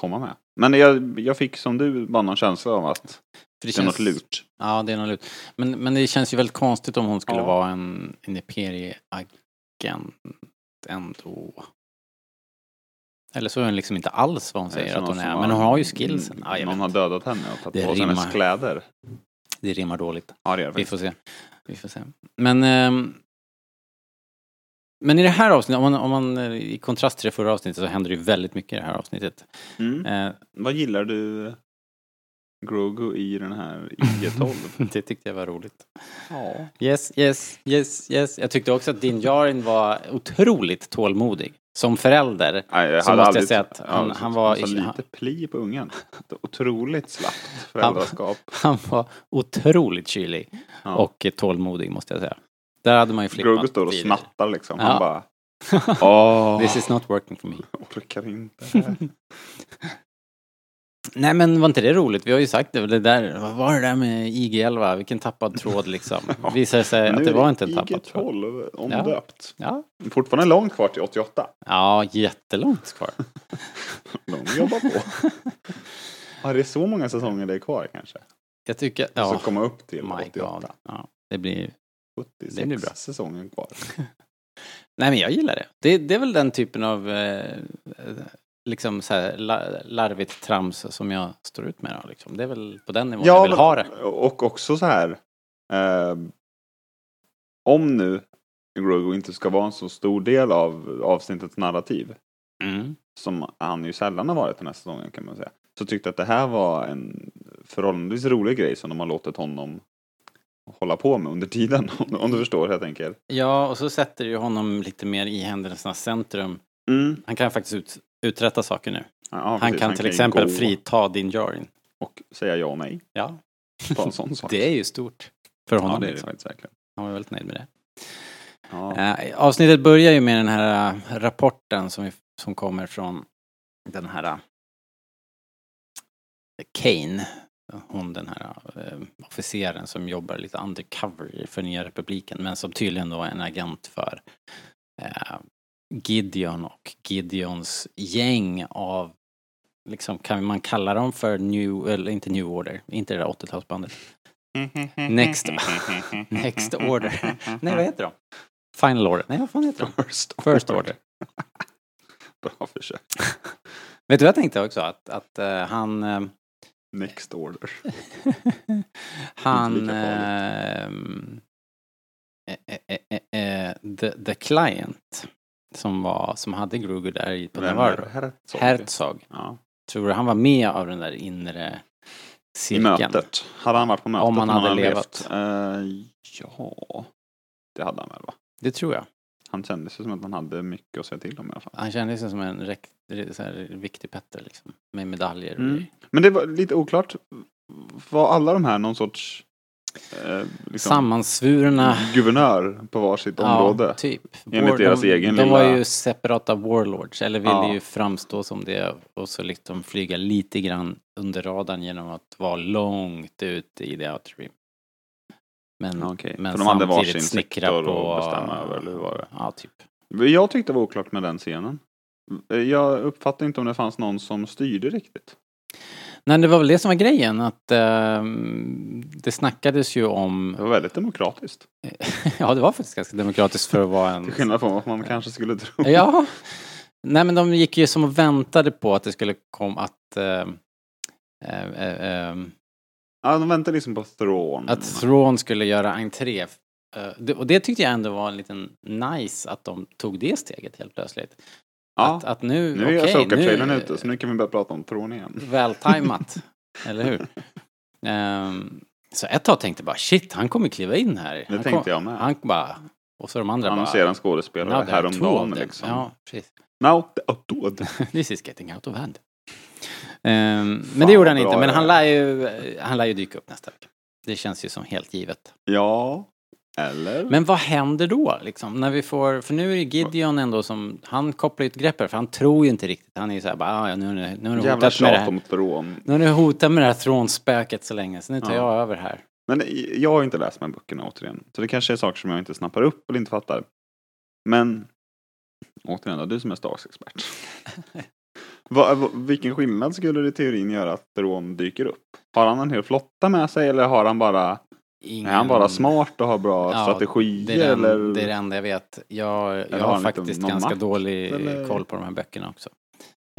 [SPEAKER 3] komma med. Men jag, jag fick som du bara någon känsla av att
[SPEAKER 2] För
[SPEAKER 3] det, är något lurt.
[SPEAKER 2] Ja, det är något lurt. Men, men det känns ju väldigt konstigt om hon skulle
[SPEAKER 3] Ja.
[SPEAKER 2] vara en, en imperieagent ändå. Eller så är hon liksom inte alls vad hon säger
[SPEAKER 3] Som
[SPEAKER 2] att hon
[SPEAKER 3] någon
[SPEAKER 2] är.
[SPEAKER 3] Eh, som
[SPEAKER 2] Men hon har ju skillsen.
[SPEAKER 3] Mm,
[SPEAKER 2] Ja, jag
[SPEAKER 3] någon
[SPEAKER 2] vet.
[SPEAKER 3] har dödat henne och
[SPEAKER 2] Det
[SPEAKER 3] tagit på sig hennes
[SPEAKER 2] rimmar.
[SPEAKER 3] kläder.
[SPEAKER 2] Det rimmar dåligt.
[SPEAKER 3] Ja, det gör det
[SPEAKER 2] Vi
[SPEAKER 3] faktiskt.
[SPEAKER 2] får se. Vi får se. Men, ehm, men i det här avsnittet, om man, om man eh, i kontrast till det förra avsnittet så händer det ju väldigt mycket i det här avsnittet.
[SPEAKER 3] Mm.
[SPEAKER 2] Eh,
[SPEAKER 3] Vad gillar du eh, Grogu i den här IG-12?
[SPEAKER 2] det tyckte jag var roligt.
[SPEAKER 3] ja.
[SPEAKER 2] Yes, yes, yes, yes. Jag tyckte också att din Jarin var otroligt tålmodig. Som förälder.
[SPEAKER 3] Nej, jag
[SPEAKER 2] Så
[SPEAKER 3] hade
[SPEAKER 2] måste jag
[SPEAKER 3] aldrig-
[SPEAKER 2] säga att han-
[SPEAKER 3] så-
[SPEAKER 2] han
[SPEAKER 3] så-
[SPEAKER 2] var-
[SPEAKER 3] så lite pli på ungen. Ett Otroligt slappt föräldraskap.
[SPEAKER 2] Han var otroligt kylig
[SPEAKER 3] Ja.
[SPEAKER 2] och tålmodig måste jag säga. Där hade man ju flippat.
[SPEAKER 3] Grogu står och
[SPEAKER 2] tidigare.
[SPEAKER 3] snattar liksom.
[SPEAKER 2] Ja.
[SPEAKER 3] Han bara... Åh,
[SPEAKER 2] Eh, This is not working for me.
[SPEAKER 3] orkar inte.
[SPEAKER 2] Nej men var inte det roligt? Vi har ju sagt det, det där, vad var det där med IG11? Vilken tappad tråd liksom. Visar det sig
[SPEAKER 3] Nu
[SPEAKER 2] att
[SPEAKER 3] är
[SPEAKER 2] det var inte en tappad tråd.
[SPEAKER 3] IG12 omdöpt.
[SPEAKER 2] Ja.
[SPEAKER 3] Fortfarande långt kvar till 88.
[SPEAKER 2] ja, jättelångt kvar.
[SPEAKER 3] De jobbar på. ja, det är så många säsonger det är kvar kanske.
[SPEAKER 2] Jag tycker,
[SPEAKER 3] Så
[SPEAKER 2] ja,
[SPEAKER 3] komma upp till
[SPEAKER 2] my god.
[SPEAKER 3] 88.
[SPEAKER 2] Ja, det blir
[SPEAKER 3] 76
[SPEAKER 2] Det blir bra.
[SPEAKER 3] säsonger kvar.
[SPEAKER 2] Nej men jag gillar det. Det, det är väl den typen av eh, liksom så här la- larvigt trams som jag står ut med. Då, liksom. Det är väl på den nivån jag vill
[SPEAKER 3] men-
[SPEAKER 2] ha det.
[SPEAKER 3] Och också så här. Eh, om nu Grogu inte ska vara en så stor del av avsnittets narrativ.
[SPEAKER 2] Mm.
[SPEAKER 3] Som han ju sällan har varit den här säsongen kan man säga. Så tyckte jag att det här var en förhållandevis rolig grej som de har låtit honom hålla på med under tiden. Om du, om du förstår helt enkelt.
[SPEAKER 2] Ja, och så sätter ju honom lite mer i händelsernas centrum.
[SPEAKER 3] Mm.
[SPEAKER 2] Han kan faktiskt ut, uträtta saker nu.
[SPEAKER 3] Ja,
[SPEAKER 2] han
[SPEAKER 3] precis.
[SPEAKER 2] kan till
[SPEAKER 3] ju
[SPEAKER 2] exempel
[SPEAKER 3] gå
[SPEAKER 2] frita din Jarin.
[SPEAKER 3] Och säga ja och nej.
[SPEAKER 2] Ja,
[SPEAKER 3] Bara en sån sak.
[SPEAKER 2] det är ju stort för honom.
[SPEAKER 3] ja, det är det
[SPEAKER 2] liksom.
[SPEAKER 3] faktiskt verkligen.
[SPEAKER 2] Han var väldigt nöjd med det.
[SPEAKER 3] Ja.
[SPEAKER 2] Eh, avsnittet börjar ju med den här eh, rapporten som, vi, som kommer från den här eh, Kane. Hon den här eh, officeren som jobbar lite undercover för Nya Republiken men som tydligen då är en agent för eh, Gideon och Gideons gäng av liksom kan man kalla dem för New, eller inte New Order, inte det där 80-talsbandet. Next, next Order. Nej vad heter de? Final Order. Nej vad fan heter de?
[SPEAKER 3] First
[SPEAKER 2] First Order.
[SPEAKER 3] Bra försök.
[SPEAKER 2] Vet du vad jag tänkte också? Att, att eh, han... eh,
[SPEAKER 3] Next order.
[SPEAKER 2] han...
[SPEAKER 3] lika
[SPEAKER 2] ehm, eh, eh, eh, eh, the, the Client. Som, var, som hade Gruger där i på Navarro.
[SPEAKER 3] Herzog.
[SPEAKER 2] Herzog.
[SPEAKER 3] Ja.
[SPEAKER 2] Tror du han var med av den där inre
[SPEAKER 3] I
[SPEAKER 2] cirkeln?
[SPEAKER 3] mötet. Hade han varit på mötet?
[SPEAKER 2] Om han
[SPEAKER 3] när
[SPEAKER 2] hade
[SPEAKER 3] levt? Eh, ja, det hade han väl va?
[SPEAKER 2] Det tror jag.
[SPEAKER 3] Han kändes ju som att han hade mycket att säga till om i alla fall.
[SPEAKER 2] Han kändes ju som en rekt, så här, viktig Petter liksom. Med medaljer och
[SPEAKER 3] Mm.
[SPEAKER 2] grejer.
[SPEAKER 3] Men det var lite oklart. Var alla de här någon sorts eh, liksom,
[SPEAKER 2] Sammansvurna.
[SPEAKER 3] guvernör på varsitt område?
[SPEAKER 2] typ.
[SPEAKER 3] Enligt deras
[SPEAKER 2] de,
[SPEAKER 3] egen
[SPEAKER 2] De
[SPEAKER 3] lilla-
[SPEAKER 2] var ju separata warlords, eller ville
[SPEAKER 3] Ja.
[SPEAKER 2] ju framstå som det och så liksom flyga lite grann under radarn genom att vara långt ute i the outer rim. Men,
[SPEAKER 3] Ja, okej.
[SPEAKER 2] men
[SPEAKER 3] För de hade varsin
[SPEAKER 2] samtidigt snickra
[SPEAKER 3] sektor
[SPEAKER 2] på...
[SPEAKER 3] att bestämma över, eller hur var det?
[SPEAKER 2] Ja, typ.
[SPEAKER 3] Jag tyckte det var oklart med den scenen. Jag uppfattade inte om det fanns någon som styrde riktigt.
[SPEAKER 2] Nej, det var väl det som var grejen, att ehm, det snackades ju om...
[SPEAKER 3] Det var väldigt demokratiskt.
[SPEAKER 2] ja, det var faktiskt ganska demokratiskt för att vara en...
[SPEAKER 3] Till skillnad från vad man kanske skulle tro.
[SPEAKER 2] Ja. Nej men de gick ju som och väntade på att det skulle komma att... Eh, eh, eh, eh,
[SPEAKER 3] Ja, de väntar liksom på Thrawn.
[SPEAKER 2] att Thrawn skulle göra entré. Eh, det- och det tyckte jag ändå var en liten nice att de tog det steget helt plötsligt.
[SPEAKER 3] ja,
[SPEAKER 2] Att, att nu,
[SPEAKER 3] nu är
[SPEAKER 2] okej,
[SPEAKER 3] Asoka-trailern
[SPEAKER 2] nu- Mm.
[SPEAKER 3] ute så nu kan vi börja prata om Thrawn igen.
[SPEAKER 2] Vältajmat, eller hur? Ehm, så ett tag tänkte jag bara shit, han kommer kliva in här.
[SPEAKER 3] Det
[SPEAKER 2] han
[SPEAKER 3] tänkte
[SPEAKER 2] kom,
[SPEAKER 3] jag med.
[SPEAKER 2] Han bara, och så de andra bara...
[SPEAKER 3] Annonserade en skådespelare
[SPEAKER 2] "Now there are two of
[SPEAKER 3] häromdagen
[SPEAKER 2] them."
[SPEAKER 3] liksom.
[SPEAKER 2] Ja, precis.
[SPEAKER 3] Now the Outdood.
[SPEAKER 2] This is getting out of hand. Ehm, men det gjorde han
[SPEAKER 3] vad bra
[SPEAKER 2] inte, men
[SPEAKER 3] det
[SPEAKER 2] han
[SPEAKER 3] är.
[SPEAKER 2] lär, ju, han lär ju dyka upp nästa vecka. Det känns ju som helt givet.
[SPEAKER 3] Ja, eller?
[SPEAKER 2] Men vad händer då, liksom? När vi får, för nu är ju Gideon ändå som, han kopplar ju ett grepp här, för han tror ju inte riktigt. Han är ju såhär bara, "Ah, ja, nu, nu, nu har du
[SPEAKER 3] Jävla
[SPEAKER 2] hotat med det
[SPEAKER 3] tjat
[SPEAKER 2] här.
[SPEAKER 3] om Thrawn.
[SPEAKER 2] Nu har du hotat med det här tronspöket så länge, så nu tar
[SPEAKER 3] Ja.
[SPEAKER 2] jag över här.
[SPEAKER 3] Men jag har ju inte läst de här böckerna återigen. Så det kanske är saker som jag inte snappar upp eller inte fattar. Men återigen då, du som är Star Wars-expert. Va, va, vilken skillnad skulle det i teorin göra att Thrawn dyker upp? Har han en hel flotta med sig eller har han bara,
[SPEAKER 2] Ingen...
[SPEAKER 3] är han bara smart och har bra
[SPEAKER 2] Mm. Ja,
[SPEAKER 3] strategier?
[SPEAKER 2] Det är, den,
[SPEAKER 3] eller?
[SPEAKER 2] det är det enda jag vet. Jag, jag
[SPEAKER 3] har
[SPEAKER 2] har
[SPEAKER 3] han lite-
[SPEAKER 2] faktiskt
[SPEAKER 3] någon
[SPEAKER 2] ganska
[SPEAKER 3] makt,
[SPEAKER 2] dålig
[SPEAKER 3] eller?
[SPEAKER 2] koll på de här böckerna också.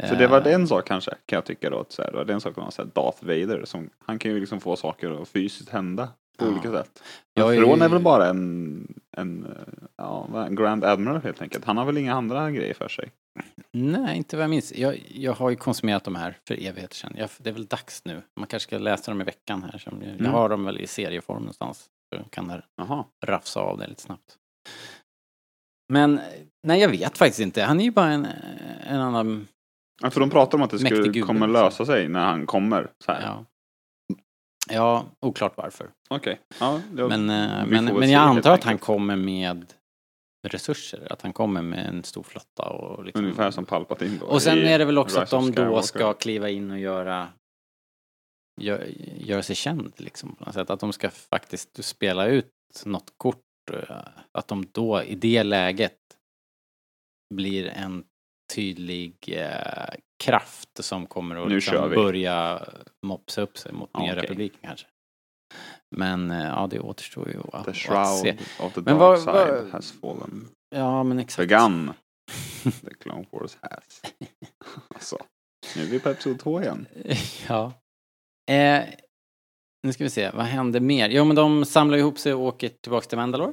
[SPEAKER 3] Så det var
[SPEAKER 2] Ehm,
[SPEAKER 3] en sak kanske, kan jag tycka då. Att så här, det var en sak om man säger Darth Vader. Som, han kan ju liksom få saker att fysiskt hända på
[SPEAKER 2] Ja.
[SPEAKER 3] olika sätt.
[SPEAKER 2] Jag
[SPEAKER 3] Men
[SPEAKER 2] är
[SPEAKER 3] Thrawn
[SPEAKER 2] ju-
[SPEAKER 3] är väl bara en, en, eh, ja, vad- en Grand Admiral helt enkelt. Han har väl inga andra grejer för sig.
[SPEAKER 2] Nej, inte vad jag minns. Jag, jag har ju konsumerat de här för evigheter sedan. Jag, det är väl dags nu. Man kanske ska läsa dem i veckan här. Som jag, jag
[SPEAKER 3] Mm.
[SPEAKER 2] har dem väl i serieform någonstans. Så jag kan
[SPEAKER 3] Jaha.
[SPEAKER 2] rafsa av det lite snabbt. Men nej, jag vet faktiskt inte. Han är ju bara en, en annan...
[SPEAKER 3] Ja, För de pratar om att det
[SPEAKER 2] Mäktig
[SPEAKER 3] skulle,
[SPEAKER 2] gubbe,
[SPEAKER 3] kommer
[SPEAKER 2] liksom.
[SPEAKER 3] lösa sig när han kommer. Så här.
[SPEAKER 2] Ja. ja, oklart varför.
[SPEAKER 3] Okej. Ja, det-
[SPEAKER 2] Men, eh,
[SPEAKER 3] vi får
[SPEAKER 2] men,
[SPEAKER 3] väl
[SPEAKER 2] men
[SPEAKER 3] se,
[SPEAKER 2] jag
[SPEAKER 3] helt
[SPEAKER 2] antar att han
[SPEAKER 3] enkelt.
[SPEAKER 2] kommer med resurser. Att han kommer med en stor flotta. Och liksom,
[SPEAKER 3] Ungefär som Palpatine då.
[SPEAKER 2] Och sen
[SPEAKER 3] i
[SPEAKER 2] är det väl också att
[SPEAKER 3] Rise of
[SPEAKER 2] de då
[SPEAKER 3] Skywalker.
[SPEAKER 2] ska kliva in och göra gör, gör sig känd liksom på något sätt. Att de ska faktiskt spela ut något kort. eh, Att de då i det läget blir en tydlig eh, kraft som kommer att
[SPEAKER 3] Nu kör
[SPEAKER 2] liksom
[SPEAKER 3] vi.
[SPEAKER 2] börja mopsa upp sig mot
[SPEAKER 3] Ja,
[SPEAKER 2] nya
[SPEAKER 3] okej.
[SPEAKER 2] republiken kanske. Men eh, ja, det återstår ju att,
[SPEAKER 3] The
[SPEAKER 2] att se.
[SPEAKER 3] shroud of the dark
[SPEAKER 2] Men vad-
[SPEAKER 3] side
[SPEAKER 2] vad-
[SPEAKER 3] has fallen.
[SPEAKER 2] Ja, men exakt.
[SPEAKER 3] Begun. The Clone Wars has. alltså, nu är vi på Episod 2 igen.
[SPEAKER 2] ja. Eh, nu ska vi se, vad händer mer? Jo, men de samlar ihop sig och åker tillbaka till Mandalore.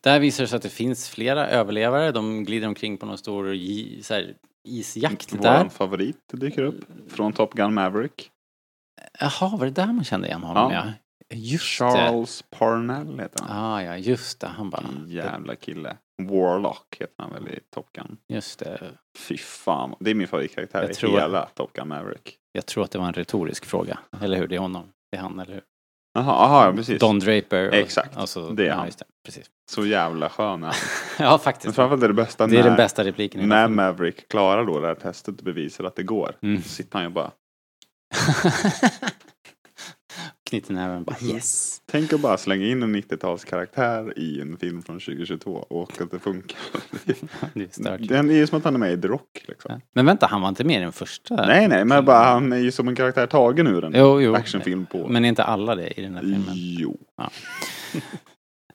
[SPEAKER 2] Där visar det sig att det finns flera överlevare. De glider omkring på någon stor i, så här, isjakt där.
[SPEAKER 3] Vår favorit dyker upp från Top Gun Maverick.
[SPEAKER 2] Jaha, var det där man kände igen honom? Ja.
[SPEAKER 3] Ja.
[SPEAKER 2] Just det.
[SPEAKER 3] Charles Parnell heter han.
[SPEAKER 2] Ah, ja, just det. Han bara...
[SPEAKER 3] Jävla kille. Typ Warlock heter han väl i Top Gun.
[SPEAKER 2] Just det.
[SPEAKER 3] Fy fan, det är min favoritkaraktär
[SPEAKER 2] Jag
[SPEAKER 3] i
[SPEAKER 2] tror-
[SPEAKER 3] hela Top Gun Maverick.
[SPEAKER 2] Jag tror att det var en retorisk fråga. Eller hur? Det är honom. Det är han, eller hur?
[SPEAKER 3] Jaha, aha, ja, precis.
[SPEAKER 2] Don Draper. och-
[SPEAKER 3] Exakt.
[SPEAKER 2] och så-
[SPEAKER 3] Det är
[SPEAKER 2] ja,
[SPEAKER 3] han.
[SPEAKER 2] just det. Precis.
[SPEAKER 3] Så jävla skön är han.
[SPEAKER 2] Ja,
[SPEAKER 3] Men
[SPEAKER 2] faktiskt.
[SPEAKER 3] framförallt är det bästa
[SPEAKER 2] Det är
[SPEAKER 3] när,
[SPEAKER 2] den bästa repliken. i
[SPEAKER 3] när
[SPEAKER 2] filmen.
[SPEAKER 3] Maverick klarar då det här testet och bevisar att det går.
[SPEAKER 2] Mm.
[SPEAKER 3] Så sitter han ju bara,
[SPEAKER 2] Knyter näven bara
[SPEAKER 3] Mm.
[SPEAKER 2] yes.
[SPEAKER 3] tänk att bara slänga in en 90-talskaraktär i en film från 2022 och att det funkar.
[SPEAKER 2] Det är stört.
[SPEAKER 3] Den är ju som att han är med i The Rock liksom.
[SPEAKER 2] Ja. Men vänta, han var inte med i den första?
[SPEAKER 3] Nej, nej, men bara han är ju som en karaktär tagen ur en
[SPEAKER 2] Jo, jo.
[SPEAKER 3] actionfilm på.
[SPEAKER 2] Men är inte alla det i den här filmen?
[SPEAKER 3] Jo,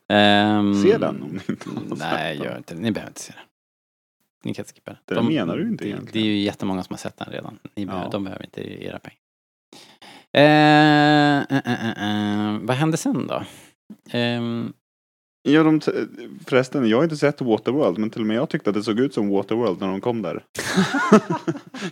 [SPEAKER 2] Ehm,
[SPEAKER 3] se den om ni inte har sett
[SPEAKER 2] Nej,
[SPEAKER 3] den.
[SPEAKER 2] gör inte det. Ni behöver inte se den. Ni kan skippa den.
[SPEAKER 3] Det menar du inte
[SPEAKER 2] det,
[SPEAKER 3] egentligen.
[SPEAKER 2] Det är ju jättemånga som har sett den redan. Ni behöver,
[SPEAKER 3] Ja.
[SPEAKER 2] De behöver inte era pengar. Ehm, eh, eh, eh, eh. Vad hände sen då? Ehm,
[SPEAKER 3] Ja, de t- förresten, jag har inte sett Waterworld, men till och med jag tyckte att det såg ut som Waterworld när de kom där.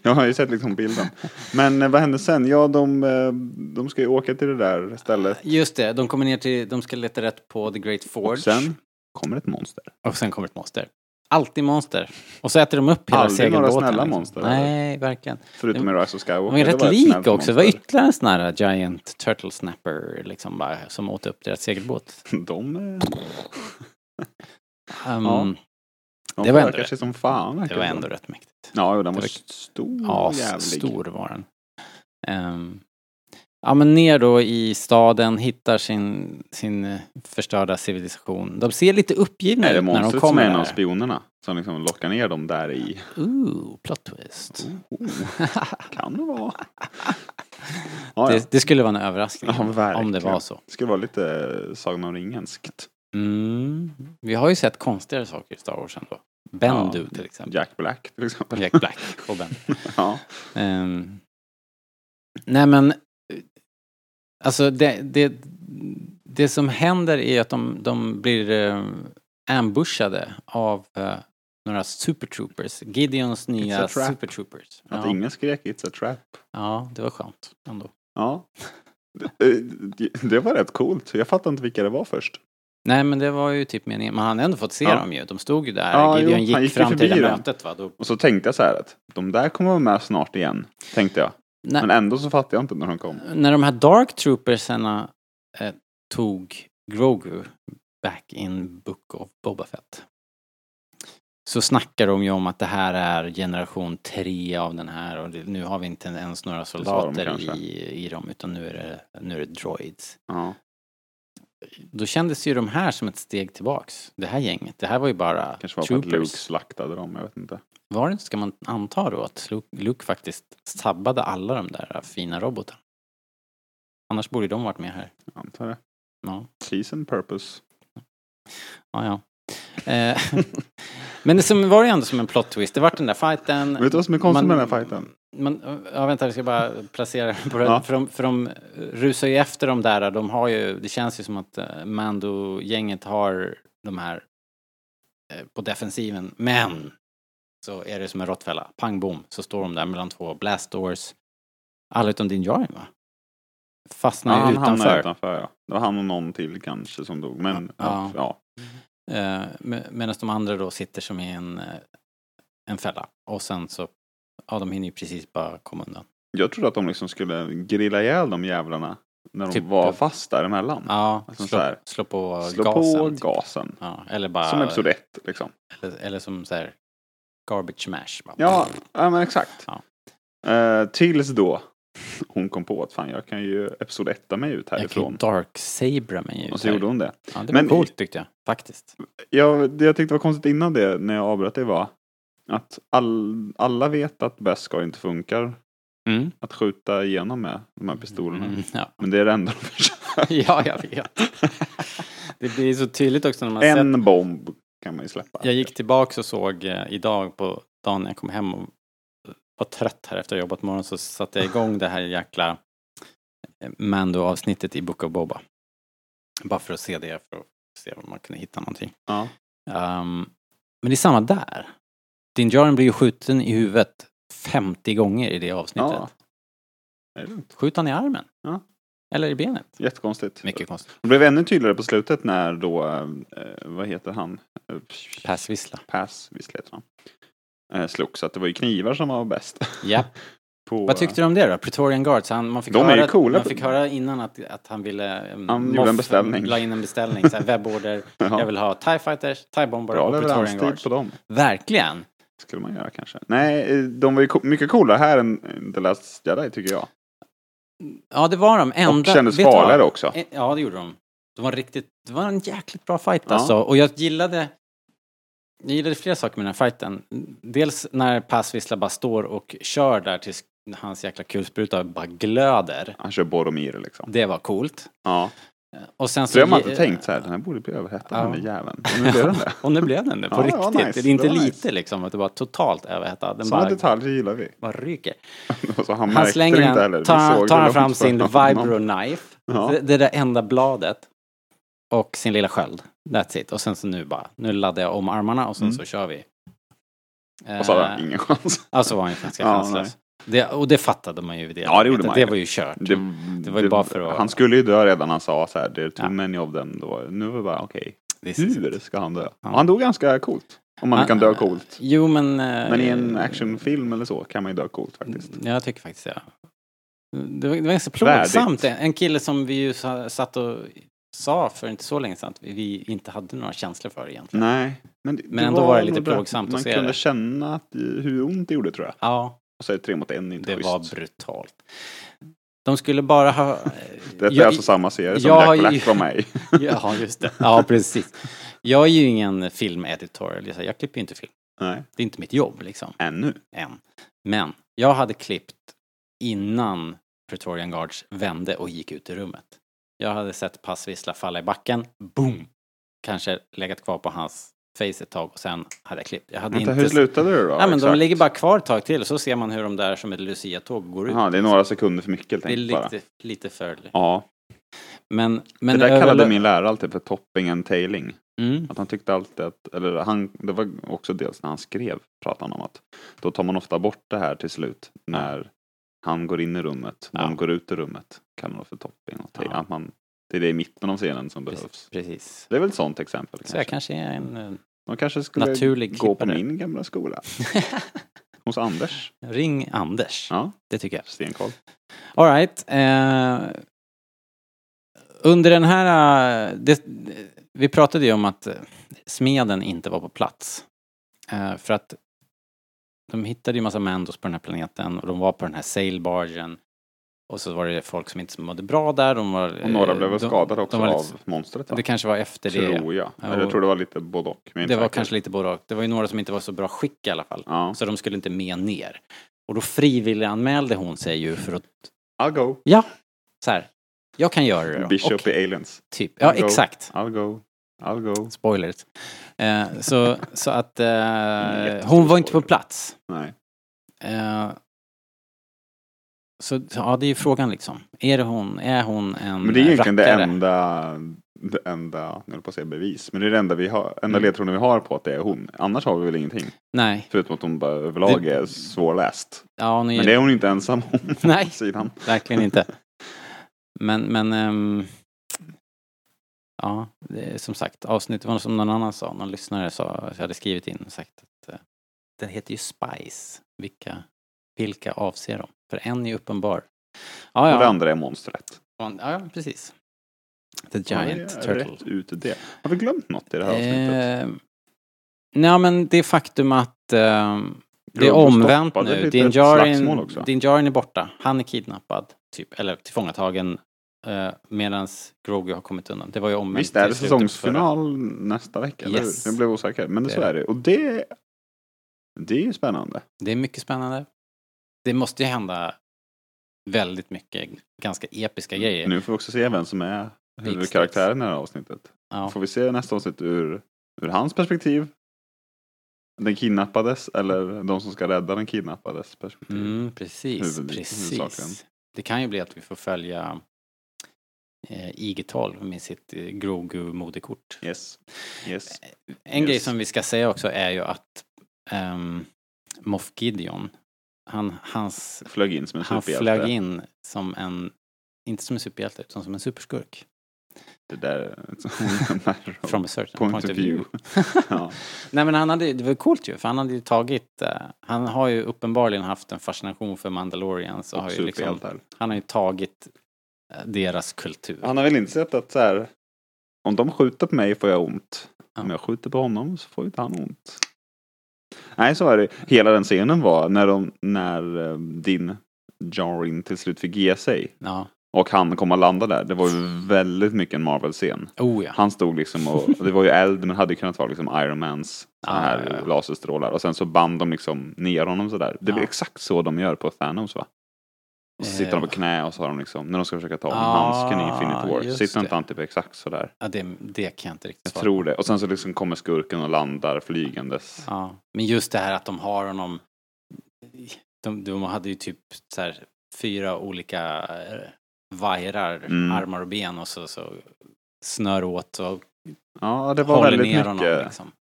[SPEAKER 3] jag har ju sett liksom bilden. Men eh, vad hände sen? Ja, de, eh, de ska ju åka till det där stället.
[SPEAKER 2] just det, de kommer ner till, de ska leta rätt på The Great Forge.
[SPEAKER 3] Och sen kommer ett monster.
[SPEAKER 2] Och sen kommer ett monster. Alltid monster. Och så äter de upp hela
[SPEAKER 3] Aldrig några
[SPEAKER 2] segelbåten.
[SPEAKER 3] snälla
[SPEAKER 2] liksom.
[SPEAKER 3] monster,
[SPEAKER 2] Nej, verkligen.
[SPEAKER 3] Förutom i Rise of Skywalker.
[SPEAKER 2] De var ju rätt
[SPEAKER 3] ett
[SPEAKER 2] lik
[SPEAKER 3] snällt
[SPEAKER 2] också. Det var
[SPEAKER 3] monster.
[SPEAKER 2] ytterligare en sån här giant turtle snapper liksom bara, som åt upp deras segelbåt.
[SPEAKER 3] De, eh,
[SPEAKER 2] Um,
[SPEAKER 3] Ja, de
[SPEAKER 2] Det
[SPEAKER 3] det
[SPEAKER 2] var
[SPEAKER 3] var
[SPEAKER 2] ändå
[SPEAKER 3] ändå
[SPEAKER 2] rätt.
[SPEAKER 3] sig som fan.
[SPEAKER 2] det
[SPEAKER 3] verkar Mm,
[SPEAKER 2] var
[SPEAKER 3] det
[SPEAKER 2] ändå
[SPEAKER 3] som.
[SPEAKER 2] rätt mäktigt.
[SPEAKER 3] Ja, jo, den
[SPEAKER 2] det
[SPEAKER 3] var
[SPEAKER 2] var-
[SPEAKER 3] stor
[SPEAKER 2] Ja,
[SPEAKER 3] jävlig.
[SPEAKER 2] stor var den. Ehm, ja, men ner då i staden, hittar sin, sin eh, förstörda civilisation. De ser lite uppgivna
[SPEAKER 3] Är det
[SPEAKER 2] ut när de
[SPEAKER 3] monstret som är
[SPEAKER 2] kommer
[SPEAKER 3] en av
[SPEAKER 2] där.
[SPEAKER 3] spionerna? Som liksom lockar ner dem där i...
[SPEAKER 2] Ooh, plot twist.
[SPEAKER 3] Kan det vara. Ja, ja.
[SPEAKER 2] Det, det skulle vara en överraskning
[SPEAKER 3] Ja, verkligen.
[SPEAKER 2] om det var så.
[SPEAKER 3] Det skulle vara lite Sagan om ringen-skt.
[SPEAKER 2] Mm. Vi har ju sett konstigare saker i Star Wars ändå. Bendu till exempel.
[SPEAKER 3] Jack Black till exempel.
[SPEAKER 2] Jack Black och Ben.
[SPEAKER 3] ja.
[SPEAKER 2] Ehm. Nej men, eh, alltså det, det, det som händer är att de, de blir eh, ambushade av eh, några supertroopers. Gideons nya
[SPEAKER 3] a trap.
[SPEAKER 2] supertroopers.
[SPEAKER 3] Att
[SPEAKER 2] Ja,
[SPEAKER 3] ingen skrek It's a trap.
[SPEAKER 2] ja, det var skönt ändå.
[SPEAKER 3] Ja. Det, eh, det- det var rätt coolt. Jag fattade inte vilka det var först.
[SPEAKER 2] Nej men det var ju typ meningen, men han hade ändå fått se
[SPEAKER 3] Ja.
[SPEAKER 2] dem ju. De stod ju där,
[SPEAKER 3] Ja, jo,
[SPEAKER 2] Gideon
[SPEAKER 3] han
[SPEAKER 2] gick
[SPEAKER 3] gick ju
[SPEAKER 2] fram till det
[SPEAKER 3] förbi
[SPEAKER 2] där
[SPEAKER 3] dem.
[SPEAKER 2] mötet va. Då,
[SPEAKER 3] Och så tänkte jag så här att de där kommer vara med snart igen. Tänkte jag.
[SPEAKER 2] nej,
[SPEAKER 3] Men ändå så fattade jag inte när de kom.
[SPEAKER 2] när de här Dark Troopersarna eh, tog Grogu back in Book of Boba Fett så snackar de ju om att det här är generation 3 av den här och det, nu har vi inte ens några
[SPEAKER 3] sa de
[SPEAKER 2] soldater
[SPEAKER 3] kanske.
[SPEAKER 2] i, i dem utan nu är, det, nu är det droids.
[SPEAKER 3] Ja.
[SPEAKER 2] Då kändes ju de här som ett steg tillbaks, det här gänget. Det här var ju bara
[SPEAKER 3] Kanske var för att Luke
[SPEAKER 2] troopers.
[SPEAKER 3] slaktade dem. Jag vet inte.
[SPEAKER 2] Var det, ska man anta då att Luke, Luke faktiskt sabbade alla de där fina robotarna? Annars borde ju de varit med här.
[SPEAKER 3] Jag antar det.
[SPEAKER 2] Ja.
[SPEAKER 3] Season purpose.
[SPEAKER 2] Ja, ja. Eh, Men det som var ju ändå som en plot twist. Det var den där fighten.
[SPEAKER 3] Vet du vad som är konstigt med den här fighten?
[SPEAKER 2] Man, eh, ja, vänta, vi ska bara placera på det.
[SPEAKER 3] Ja.
[SPEAKER 2] För, de, för de rusar ju efter de där. De har ju, det känns ju som att eh, Mando-gänget har de här eh, på defensiven. Men så är det som en råttfälla. Pang bom, så står de där mellan två blast doors. Alla utom din Jarin va?
[SPEAKER 3] ja,
[SPEAKER 2] Fastnar ju
[SPEAKER 3] han hamnade
[SPEAKER 2] utanför.
[SPEAKER 3] utanför. Ja. Det var han och någon till kanske som dog. Men
[SPEAKER 2] Ja.
[SPEAKER 3] ja. ja.
[SPEAKER 2] Eh, me- Medan de andra då sitter som i en, eh, en fälla. Och sen så, ja de hinner ju precis bara komma undan.
[SPEAKER 3] Jag trodde att de liksom skulle grilla ihjäl de jävlarna när de
[SPEAKER 2] Typ-
[SPEAKER 3] var fast däremellan.
[SPEAKER 2] Ja,
[SPEAKER 3] Alltså
[SPEAKER 2] slå,
[SPEAKER 3] så här,
[SPEAKER 2] slå på
[SPEAKER 3] Slå
[SPEAKER 2] gasen.
[SPEAKER 3] på
[SPEAKER 2] typ.
[SPEAKER 3] gasen.
[SPEAKER 2] Ja, eller bara,
[SPEAKER 3] Som episod ett liksom.
[SPEAKER 2] eller, eller som så här, garbage mash. Bara.
[SPEAKER 3] Ja, ja men exakt.
[SPEAKER 2] Ja.
[SPEAKER 3] Eh, tills då hon kom på att fan jag kan ju Episod 1 mig ut
[SPEAKER 2] Jag kan ju
[SPEAKER 3] härifrån.
[SPEAKER 2] dark sabra mig ut
[SPEAKER 3] Och så gjorde
[SPEAKER 2] här.
[SPEAKER 3] hon det.
[SPEAKER 2] Ja, det var
[SPEAKER 3] Men-
[SPEAKER 2] coolt tyckte jag, faktiskt.
[SPEAKER 3] Jag, det jag tyckte var konstigt innan det, när jag avbröt det var att all, alla vet att Beskar inte funkar
[SPEAKER 2] Mm.
[SPEAKER 3] att skjuta igenom med de här pistolerna.
[SPEAKER 2] Mm, ja.
[SPEAKER 3] Men det är det enda de försöker.
[SPEAKER 2] ja, jag vet. Det blir så tydligt också när man sett
[SPEAKER 3] En bomb kan man ju släppa.
[SPEAKER 2] Jag gick tillbaka och såg eh, idag på dagen när jag kom hem och var trött här efter att ha jobbat morgon så satte jag igång det här jäkla eh, Mando-avsnittet i Book of Boba. Bara för att se det, för att se om man kunde hitta någonting.
[SPEAKER 3] Ja.
[SPEAKER 2] Ehm, men det är samma där. Din Jaren blir ju skjuten i huvudet 50 gånger i det avsnittet.
[SPEAKER 3] Ja. Det är lugnt.
[SPEAKER 2] Skjut han i armen.
[SPEAKER 3] Ja.
[SPEAKER 2] Eller i benet.
[SPEAKER 3] Jättekonstigt.
[SPEAKER 2] Mycket konstigt.
[SPEAKER 3] Det blev ännu tydligare på slutet när då, eh, vad heter han? Eh,
[SPEAKER 2] Passvissla.
[SPEAKER 3] Pass, visst heter han. Eh, slogs, så att det var ju knivar som var bäst.
[SPEAKER 2] Japp.
[SPEAKER 3] På,
[SPEAKER 2] Vad tyckte du om det då? Pretorian Guards, han, man, fick
[SPEAKER 3] De är ju
[SPEAKER 2] höra,
[SPEAKER 3] coola.
[SPEAKER 2] man fick höra innan att, att han ville... Um,
[SPEAKER 3] Han gjorde en beställning.
[SPEAKER 2] La in en beställning, så här, webborder.
[SPEAKER 3] Ja.
[SPEAKER 2] Jag vill ha TIE Fighters, TIE Bomber
[SPEAKER 3] Bra
[SPEAKER 2] och Pretorian
[SPEAKER 3] leveranstid
[SPEAKER 2] Guards.
[SPEAKER 3] på dem.
[SPEAKER 2] Verkligen!
[SPEAKER 3] Skulle man göra kanske. Nej, eh, de var ju co- mycket coolare här än än The Last Jedi tycker jag.
[SPEAKER 2] Ja, det var de. Enda,
[SPEAKER 3] Och kändes
[SPEAKER 2] vet du vad?
[SPEAKER 3] farligare också.
[SPEAKER 2] Eh, Ja, det gjorde de. Det var, riktigt, det var en jäkligt bra fight
[SPEAKER 3] Ja.
[SPEAKER 2] alltså. Och jag gillade... Jag gillade flera saker med den här fighten. Dels när Passvissla bara står och kör där tills hans jäkla kulspruta bara glöder.
[SPEAKER 3] Han kör Boromir liksom.
[SPEAKER 2] Det var coolt.
[SPEAKER 3] Ja.
[SPEAKER 2] Och sen så...
[SPEAKER 3] Så det har man inte
[SPEAKER 2] ge-
[SPEAKER 3] tänkt så här, den här borde bli överhettad
[SPEAKER 2] Ja.
[SPEAKER 3] den där jäveln. Och nu blev den det.
[SPEAKER 2] Och nu blev den det, på
[SPEAKER 3] Ja, det var
[SPEAKER 2] riktigt.
[SPEAKER 3] nice,
[SPEAKER 2] Det är inte
[SPEAKER 3] det var
[SPEAKER 2] lite
[SPEAKER 3] nice.
[SPEAKER 2] liksom, att det var totalt överhettad. Den
[SPEAKER 3] Sådana
[SPEAKER 2] bara,
[SPEAKER 3] detaljer gillar vi.
[SPEAKER 2] bara ryker.
[SPEAKER 3] Och så han
[SPEAKER 2] Han
[SPEAKER 3] märkte
[SPEAKER 2] slänger
[SPEAKER 3] det inte heller.
[SPEAKER 2] den,
[SPEAKER 3] Vi
[SPEAKER 2] tar,
[SPEAKER 3] såg
[SPEAKER 2] han- tar
[SPEAKER 3] hur
[SPEAKER 2] han
[SPEAKER 3] långt
[SPEAKER 2] fram sin
[SPEAKER 3] det var.
[SPEAKER 2] vibro-knife,
[SPEAKER 3] Ja.
[SPEAKER 2] det, det där enda bladet och sin lilla sköld. That's it. Och sen så nu bara, nu laddar jag om armarna och sen så kör vi.
[SPEAKER 3] Mm. Och så hade
[SPEAKER 2] Eh,
[SPEAKER 3] han ingen chans.
[SPEAKER 2] alltså var han ju ganska
[SPEAKER 3] Ja,
[SPEAKER 2] chanslös. Det, och det fattade man ju. i Det,
[SPEAKER 3] Ja, det gjorde man
[SPEAKER 2] det
[SPEAKER 3] ju.
[SPEAKER 2] var ju kört.
[SPEAKER 3] Det,
[SPEAKER 2] Mm, det var ju bara för att-
[SPEAKER 3] Han skulle ju dö redan han sa så här, det är too
[SPEAKER 2] Ja.
[SPEAKER 3] many of them. Då. Nu var det bara okej,
[SPEAKER 2] This is
[SPEAKER 3] hur
[SPEAKER 2] it.
[SPEAKER 3] ska han dö?
[SPEAKER 2] Ja.
[SPEAKER 3] Och Han dog ganska coolt. Om man
[SPEAKER 2] Ah,
[SPEAKER 3] kan dö coolt.
[SPEAKER 2] Jo, men... eh,
[SPEAKER 3] Men i en actionfilm eller så kan man ju dö coolt faktiskt.
[SPEAKER 2] Ja, Jag tycker faktiskt det. Det var, det var ganska plågsamt. En kille som vi ju sa- satt och sa för inte så länge sedan att vi inte hade några känslor för egentligen.
[SPEAKER 3] Nej. Men, det,
[SPEAKER 2] Men ändå var det lite
[SPEAKER 3] nog bra.
[SPEAKER 2] plågsamt att
[SPEAKER 3] Man
[SPEAKER 2] se
[SPEAKER 3] kunde
[SPEAKER 2] det.
[SPEAKER 3] känna att, eh, hur ont det gjorde tror jag.
[SPEAKER 2] Ja,
[SPEAKER 3] Och så är det tre mot en inte
[SPEAKER 2] det
[SPEAKER 3] schysst.
[SPEAKER 2] var brutalt. De skulle bara ha... eh,
[SPEAKER 3] Detta är
[SPEAKER 2] Jag-
[SPEAKER 3] alltså samma serie som
[SPEAKER 2] jag
[SPEAKER 3] Jack
[SPEAKER 2] har ju-
[SPEAKER 3] Black var med i.
[SPEAKER 2] Ja, just det. Ja, precis. Jag är ju ingen filmeditor. eller så. Jag klipper ju inte film.
[SPEAKER 3] Nej,
[SPEAKER 2] Det är inte mitt jobb liksom,
[SPEAKER 3] ännu.
[SPEAKER 2] än. Men jag hade klippt innan Pretorian Guards vände och gick ut i rummet. Jag hade sett passvissla falla i backen. Boom! Kanske legat kvar på hans face ett tag och sen hade jag klippt. Jag hade
[SPEAKER 3] Vänta,
[SPEAKER 2] inte...
[SPEAKER 3] hur slutade det då?
[SPEAKER 2] Ja, men de
[SPEAKER 3] Exakt.
[SPEAKER 2] ligger bara kvar ett tag till och så ser man hur de där som ett Lucia-tåg går ut.
[SPEAKER 3] Ja, det är några sekunder för mycket helt
[SPEAKER 2] det är
[SPEAKER 3] enkelt bara.
[SPEAKER 2] lite, lite för...
[SPEAKER 3] Ja,
[SPEAKER 2] Men, men
[SPEAKER 3] det där kallade
[SPEAKER 2] överlag-
[SPEAKER 3] min lärare alltid för topping and tailing.
[SPEAKER 2] Mm.
[SPEAKER 3] Att han tyckte alltid att, eller han, det var också dels när han skrev, pratade han om att då tar man ofta bort det här till slut när han går in i rummet,
[SPEAKER 2] Ja.
[SPEAKER 3] de går ut ur rummet, kallar det för topping och tailing.
[SPEAKER 2] Ja.
[SPEAKER 3] Att man, det är det i mitten av scenen som behövs.
[SPEAKER 2] Precis. precis.
[SPEAKER 3] Det är väl ett sånt exempel.
[SPEAKER 2] Så
[SPEAKER 3] Kanske.
[SPEAKER 2] jag kanske är en eh,
[SPEAKER 3] De kanske skulle
[SPEAKER 2] naturlig
[SPEAKER 3] gå på
[SPEAKER 2] klippare.
[SPEAKER 3] min gamla skola. Hos Anders.
[SPEAKER 2] eh, Ring Anders.
[SPEAKER 3] Ja,
[SPEAKER 2] Det tycker jag.
[SPEAKER 3] stenkoll.
[SPEAKER 2] All right. Eh, under den här... eh, Det, vi pratade ju om att eh, smeden inte var på plats. Eh, för att de hittade ju massa Mandos på den här planeten och de var på den här sailbargen. Och så var det folk som inte mådde bra där. De var,
[SPEAKER 3] Och några
[SPEAKER 2] eh,
[SPEAKER 3] blev väl
[SPEAKER 2] de-
[SPEAKER 3] skadade också
[SPEAKER 2] de var
[SPEAKER 3] av
[SPEAKER 2] lite-
[SPEAKER 3] monstret va?
[SPEAKER 2] Det kanske var efter det.
[SPEAKER 3] Tror jag.
[SPEAKER 2] Ja,
[SPEAKER 3] Eller jag
[SPEAKER 2] och-
[SPEAKER 3] tror det var lite både och. men jag är inte
[SPEAKER 2] Det var
[SPEAKER 3] säker.
[SPEAKER 2] kanske lite både och. Det var ju några som inte var så bra skick i alla fall.
[SPEAKER 3] Ja.
[SPEAKER 2] Så de skulle inte med ner. Och då frivilliganmälde hon sig ju för att,
[SPEAKER 3] I'll go.
[SPEAKER 2] ja, så här, jag kan göra det då.
[SPEAKER 3] Bishop
[SPEAKER 2] Okej.
[SPEAKER 3] i Aliens.
[SPEAKER 2] Typ. Ja,
[SPEAKER 3] Go.
[SPEAKER 2] exakt.
[SPEAKER 3] I'll go. I'll go.
[SPEAKER 2] Spoilers. Eh, så, så att eh,
[SPEAKER 3] jättestor
[SPEAKER 2] hon var inte på
[SPEAKER 3] spoiler.
[SPEAKER 2] plats.
[SPEAKER 3] Nej.
[SPEAKER 2] Eh, så, så ja, det är ju frågan liksom. Är det hon, är hon en
[SPEAKER 3] Men det är egentligen det
[SPEAKER 2] rackare?
[SPEAKER 3] enda, det enda, nu höll jag på att säga bevis, men det är det enda, vi har, enda
[SPEAKER 2] Mm.
[SPEAKER 3] ledtråden vi har på att det är hon. Annars har vi väl ingenting.
[SPEAKER 2] Nej.
[SPEAKER 3] Förutom att hon bara överlag
[SPEAKER 2] Det-
[SPEAKER 3] är svårläst.
[SPEAKER 2] Ja, hon är,
[SPEAKER 3] Men det är hon inte ensam om.
[SPEAKER 2] Nej.
[SPEAKER 3] på Sidan.
[SPEAKER 2] verkligen inte. Men, men... ehm, ja, det är, som sagt, avsnittet var som någon annan sa, någon lyssnare sa, jag hade skrivit in och sagt att eh, den heter ju Spice. Vilka, vilka avser de? För en är ju uppenbar. Ja,
[SPEAKER 3] Och det
[SPEAKER 2] ja.
[SPEAKER 3] andra är monstret.
[SPEAKER 2] Ja, ja, precis. The
[SPEAKER 3] Ja, det
[SPEAKER 2] Giant
[SPEAKER 3] är
[SPEAKER 2] Turtle.
[SPEAKER 3] Rätt ut det. Har
[SPEAKER 2] Ehm,
[SPEAKER 3] vi glömt något i det här avsnittet?
[SPEAKER 2] Eh, nej, men det faktum att eh, Det är
[SPEAKER 3] rubb och
[SPEAKER 2] omvänt
[SPEAKER 3] stoppade
[SPEAKER 2] nu.
[SPEAKER 3] lite
[SPEAKER 2] Din
[SPEAKER 3] slagsmål
[SPEAKER 2] Djarin,
[SPEAKER 3] också.
[SPEAKER 2] Din Djarin är borta. Han är kidnappad, typ, eller tillfångatagen. Eh, Medan Grogu har kommit undan. Det var ju omvänt.
[SPEAKER 3] Visst är det
[SPEAKER 2] till slutet på förra.
[SPEAKER 3] säsongsfinal nästa vecka? eller
[SPEAKER 2] Yes.
[SPEAKER 3] hur? Jag blev osäker. Men det,
[SPEAKER 2] Det
[SPEAKER 3] så
[SPEAKER 2] är
[SPEAKER 3] är det. Och det, det är ju spännande.
[SPEAKER 2] Det är mycket spännande. Det måste ju hända väldigt mycket ganska episka grejer.
[SPEAKER 3] Nu får vi också se vem som är huvudkaraktären i det här avsnittet.
[SPEAKER 2] Ja.
[SPEAKER 3] Får vi se nästa avsnitt ur, ur hans perspektiv? Den kidnappades eller de som ska rädda den kidnappades perspektiv?
[SPEAKER 2] Mm, precis,
[SPEAKER 3] Huvud- huvudsaken.
[SPEAKER 2] precis. Det kan ju bli att vi får följa eh, IG-12 med sitt eh, Grogu-modekort.
[SPEAKER 3] Yes. yes.
[SPEAKER 2] En grej
[SPEAKER 3] Yes.
[SPEAKER 2] som vi ska säga också är ju att um, Moff Gideon, han, hans,
[SPEAKER 3] Flög in som en
[SPEAKER 2] han
[SPEAKER 3] superhjälte.
[SPEAKER 2] flög in som en, inte som en superhjälte, utan som en superskurk.
[SPEAKER 3] Det där är ett sånt här
[SPEAKER 2] From a certain
[SPEAKER 3] Oh, point, of view. ja.
[SPEAKER 2] Nej men han hade, det var ju coolt ju, för han hade ju tagit, eh, han har ju uppenbarligen haft en fascination för Mandalorians och
[SPEAKER 3] Och
[SPEAKER 2] har ju liksom,
[SPEAKER 3] superhjältar.
[SPEAKER 2] han har ju tagit eh, deras kultur.
[SPEAKER 3] Han har väl insett att så här, om de skjuter på mig får jag ont.
[SPEAKER 2] Ja.
[SPEAKER 3] Om jag skjuter på honom så får inte han ont. Nej, så är det. Hela den scenen var när, de, när eh, din Jarin till slut fick ge sig
[SPEAKER 2] Ja,
[SPEAKER 3] och han kom att landa där. Det var ju väldigt mycket en Marvel-scen.
[SPEAKER 2] oh ja.
[SPEAKER 3] Han stod liksom och, och det var ju eld men hade kunnat vara liksom Iron Mans så
[SPEAKER 2] Ja,
[SPEAKER 3] här
[SPEAKER 2] ja, ja.
[SPEAKER 3] laserstrålar och sen så band de liksom ner honom sådär. Det är
[SPEAKER 2] Ja. Eh,
[SPEAKER 3] exakt så de gör på Thanos va? Och så sitter de på knä och så har de liksom, när de ska försöka ta honom,
[SPEAKER 2] Ah,
[SPEAKER 3] handsken i Infinity War,
[SPEAKER 2] just
[SPEAKER 3] sitter inte
[SPEAKER 2] det.
[SPEAKER 3] han typ exakt sådär?
[SPEAKER 2] ja det, det kan jag inte riktigt
[SPEAKER 3] Jag
[SPEAKER 2] svara på.
[SPEAKER 3] tror det. Och sen så liksom kommer skurken och landar flygandes.
[SPEAKER 2] Ja, men just det här att de har honom... De, de hade ju typ så här fyra olika eh, vajrar,
[SPEAKER 3] Mm.
[SPEAKER 2] armar och ben och så, så snör åt och
[SPEAKER 3] Ja, det var
[SPEAKER 2] håller
[SPEAKER 3] väldigt
[SPEAKER 2] ner
[SPEAKER 3] mycket.
[SPEAKER 2] honom. Liksom.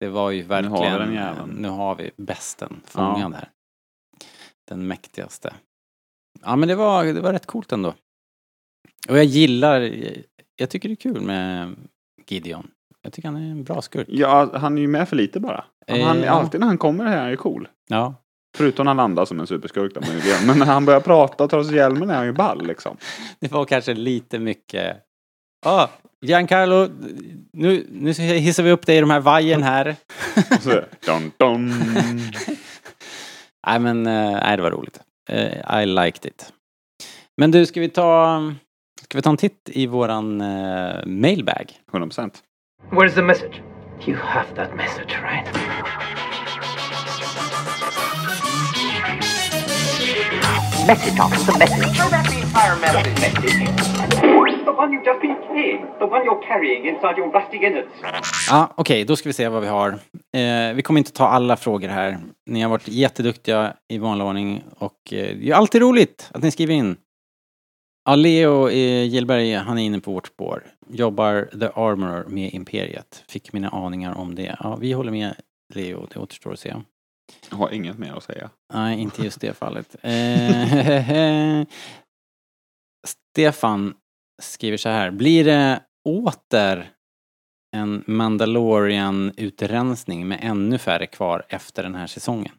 [SPEAKER 2] Det var ju verkligen...
[SPEAKER 3] har vi den jäveln.
[SPEAKER 2] Nu har vi bästen fångad här. Den mäktigaste. Ja, men det var, det var rätt coolt ändå. Och jag gillar... Jag tycker det är kul med Gideon. Jag tycker han är en bra skurk.
[SPEAKER 3] Ja, han är ju med för lite bara. Han, han,
[SPEAKER 2] Eh, ja.
[SPEAKER 3] Alltid när han kommer här är han ju cool.
[SPEAKER 2] Ja,
[SPEAKER 3] Förutom när han landar som en superskurk då, möjligen. Men när han börjar prata och tar av sig hjälmen är han ju ball liksom.
[SPEAKER 2] Det var kanske lite mycket... Ja, Giancarlo, nu, nu hissar vi upp dig i de här vajern här.
[SPEAKER 3] Och så, dun, dun.
[SPEAKER 2] Nej, men eh, nej, det var roligt. Eh, I liked it. Men du, ska vi ta, ska vi ta en titt i våran eh, mailbag?
[SPEAKER 3] 100 procent.
[SPEAKER 8] Where's the message?
[SPEAKER 9] You have that message, right?
[SPEAKER 8] Message officer, the message. Show back the entire message. The one you just became. The one you're carrying inside your rusty innards.
[SPEAKER 2] Ja, Okej, då ska vi se vad vi har. Eh, vi kommer inte ta alla frågor här. Ni har varit jätteduktiga i vanlig ordning och eh, det är alltid roligt att ni skriver in. Ja, Leo eh, Gillberg, han är inne på vårt spår. Jobbar The Armorer med Imperiet. Fick mina aningar om det. Ja, vi håller med Leo, det återstår att se.
[SPEAKER 3] Jag har inget mer att säga.
[SPEAKER 2] Nej, inte just det fallet. Eh, Stefan skriver så här. Blir det åter en Mandalorian-utrensning med ännu färre kvar efter den här säsongen?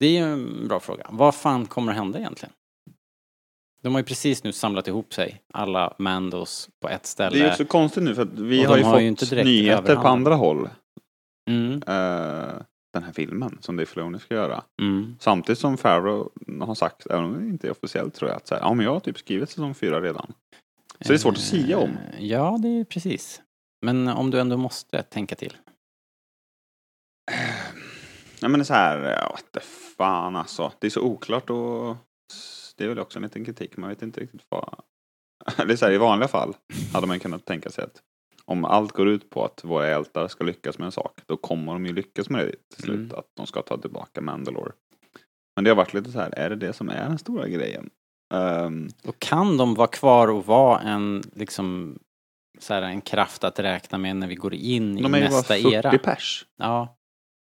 [SPEAKER 2] Det är ju en bra fråga. Vad fan kommer att hända egentligen? De har ju precis nu samlat ihop sig, alla Mandos på ett ställe.
[SPEAKER 3] Det är ju så konstigt nu för att vi
[SPEAKER 2] Och
[SPEAKER 3] har
[SPEAKER 2] de
[SPEAKER 3] ju
[SPEAKER 2] har ju inte
[SPEAKER 3] fått
[SPEAKER 2] direkt
[SPEAKER 3] nyheter på
[SPEAKER 2] överhand.
[SPEAKER 3] andra håll.
[SPEAKER 2] mm,
[SPEAKER 3] eh, den här filmen som Dave Filoni ska göra.
[SPEAKER 2] mm,
[SPEAKER 3] Samtidigt som Farrow har sagt, även om det inte är officiellt tror jag, att så här, ja, men jag har typ skrivit säsong fyra redan. Så det är svårt att sia om.
[SPEAKER 2] Eh, Ja, det är precis. Men om du ändå måste tänka till.
[SPEAKER 3] Nej men det är så här, ja, what the fan alltså. Det är så oklart och det är väl också en liten kritik. Man vet inte riktigt vad... Det är så här, i vanliga fall hade man kunnat tänka sig att om allt går ut på att våra hjältar ska lyckas med en sak, då kommer de ju lyckas med det till slut.
[SPEAKER 2] Mm.
[SPEAKER 3] Att de ska ta tillbaka Mandalore. Men det har varit lite så här, är det det som är den stora grejen? Ehm,
[SPEAKER 2] Och kan de vara kvar och vara en, liksom, så här, en kraft att räkna med när vi går in
[SPEAKER 3] de
[SPEAKER 2] i
[SPEAKER 3] är ju bara
[SPEAKER 2] nästa
[SPEAKER 3] 40
[SPEAKER 2] era?
[SPEAKER 3] pers.
[SPEAKER 2] Ja.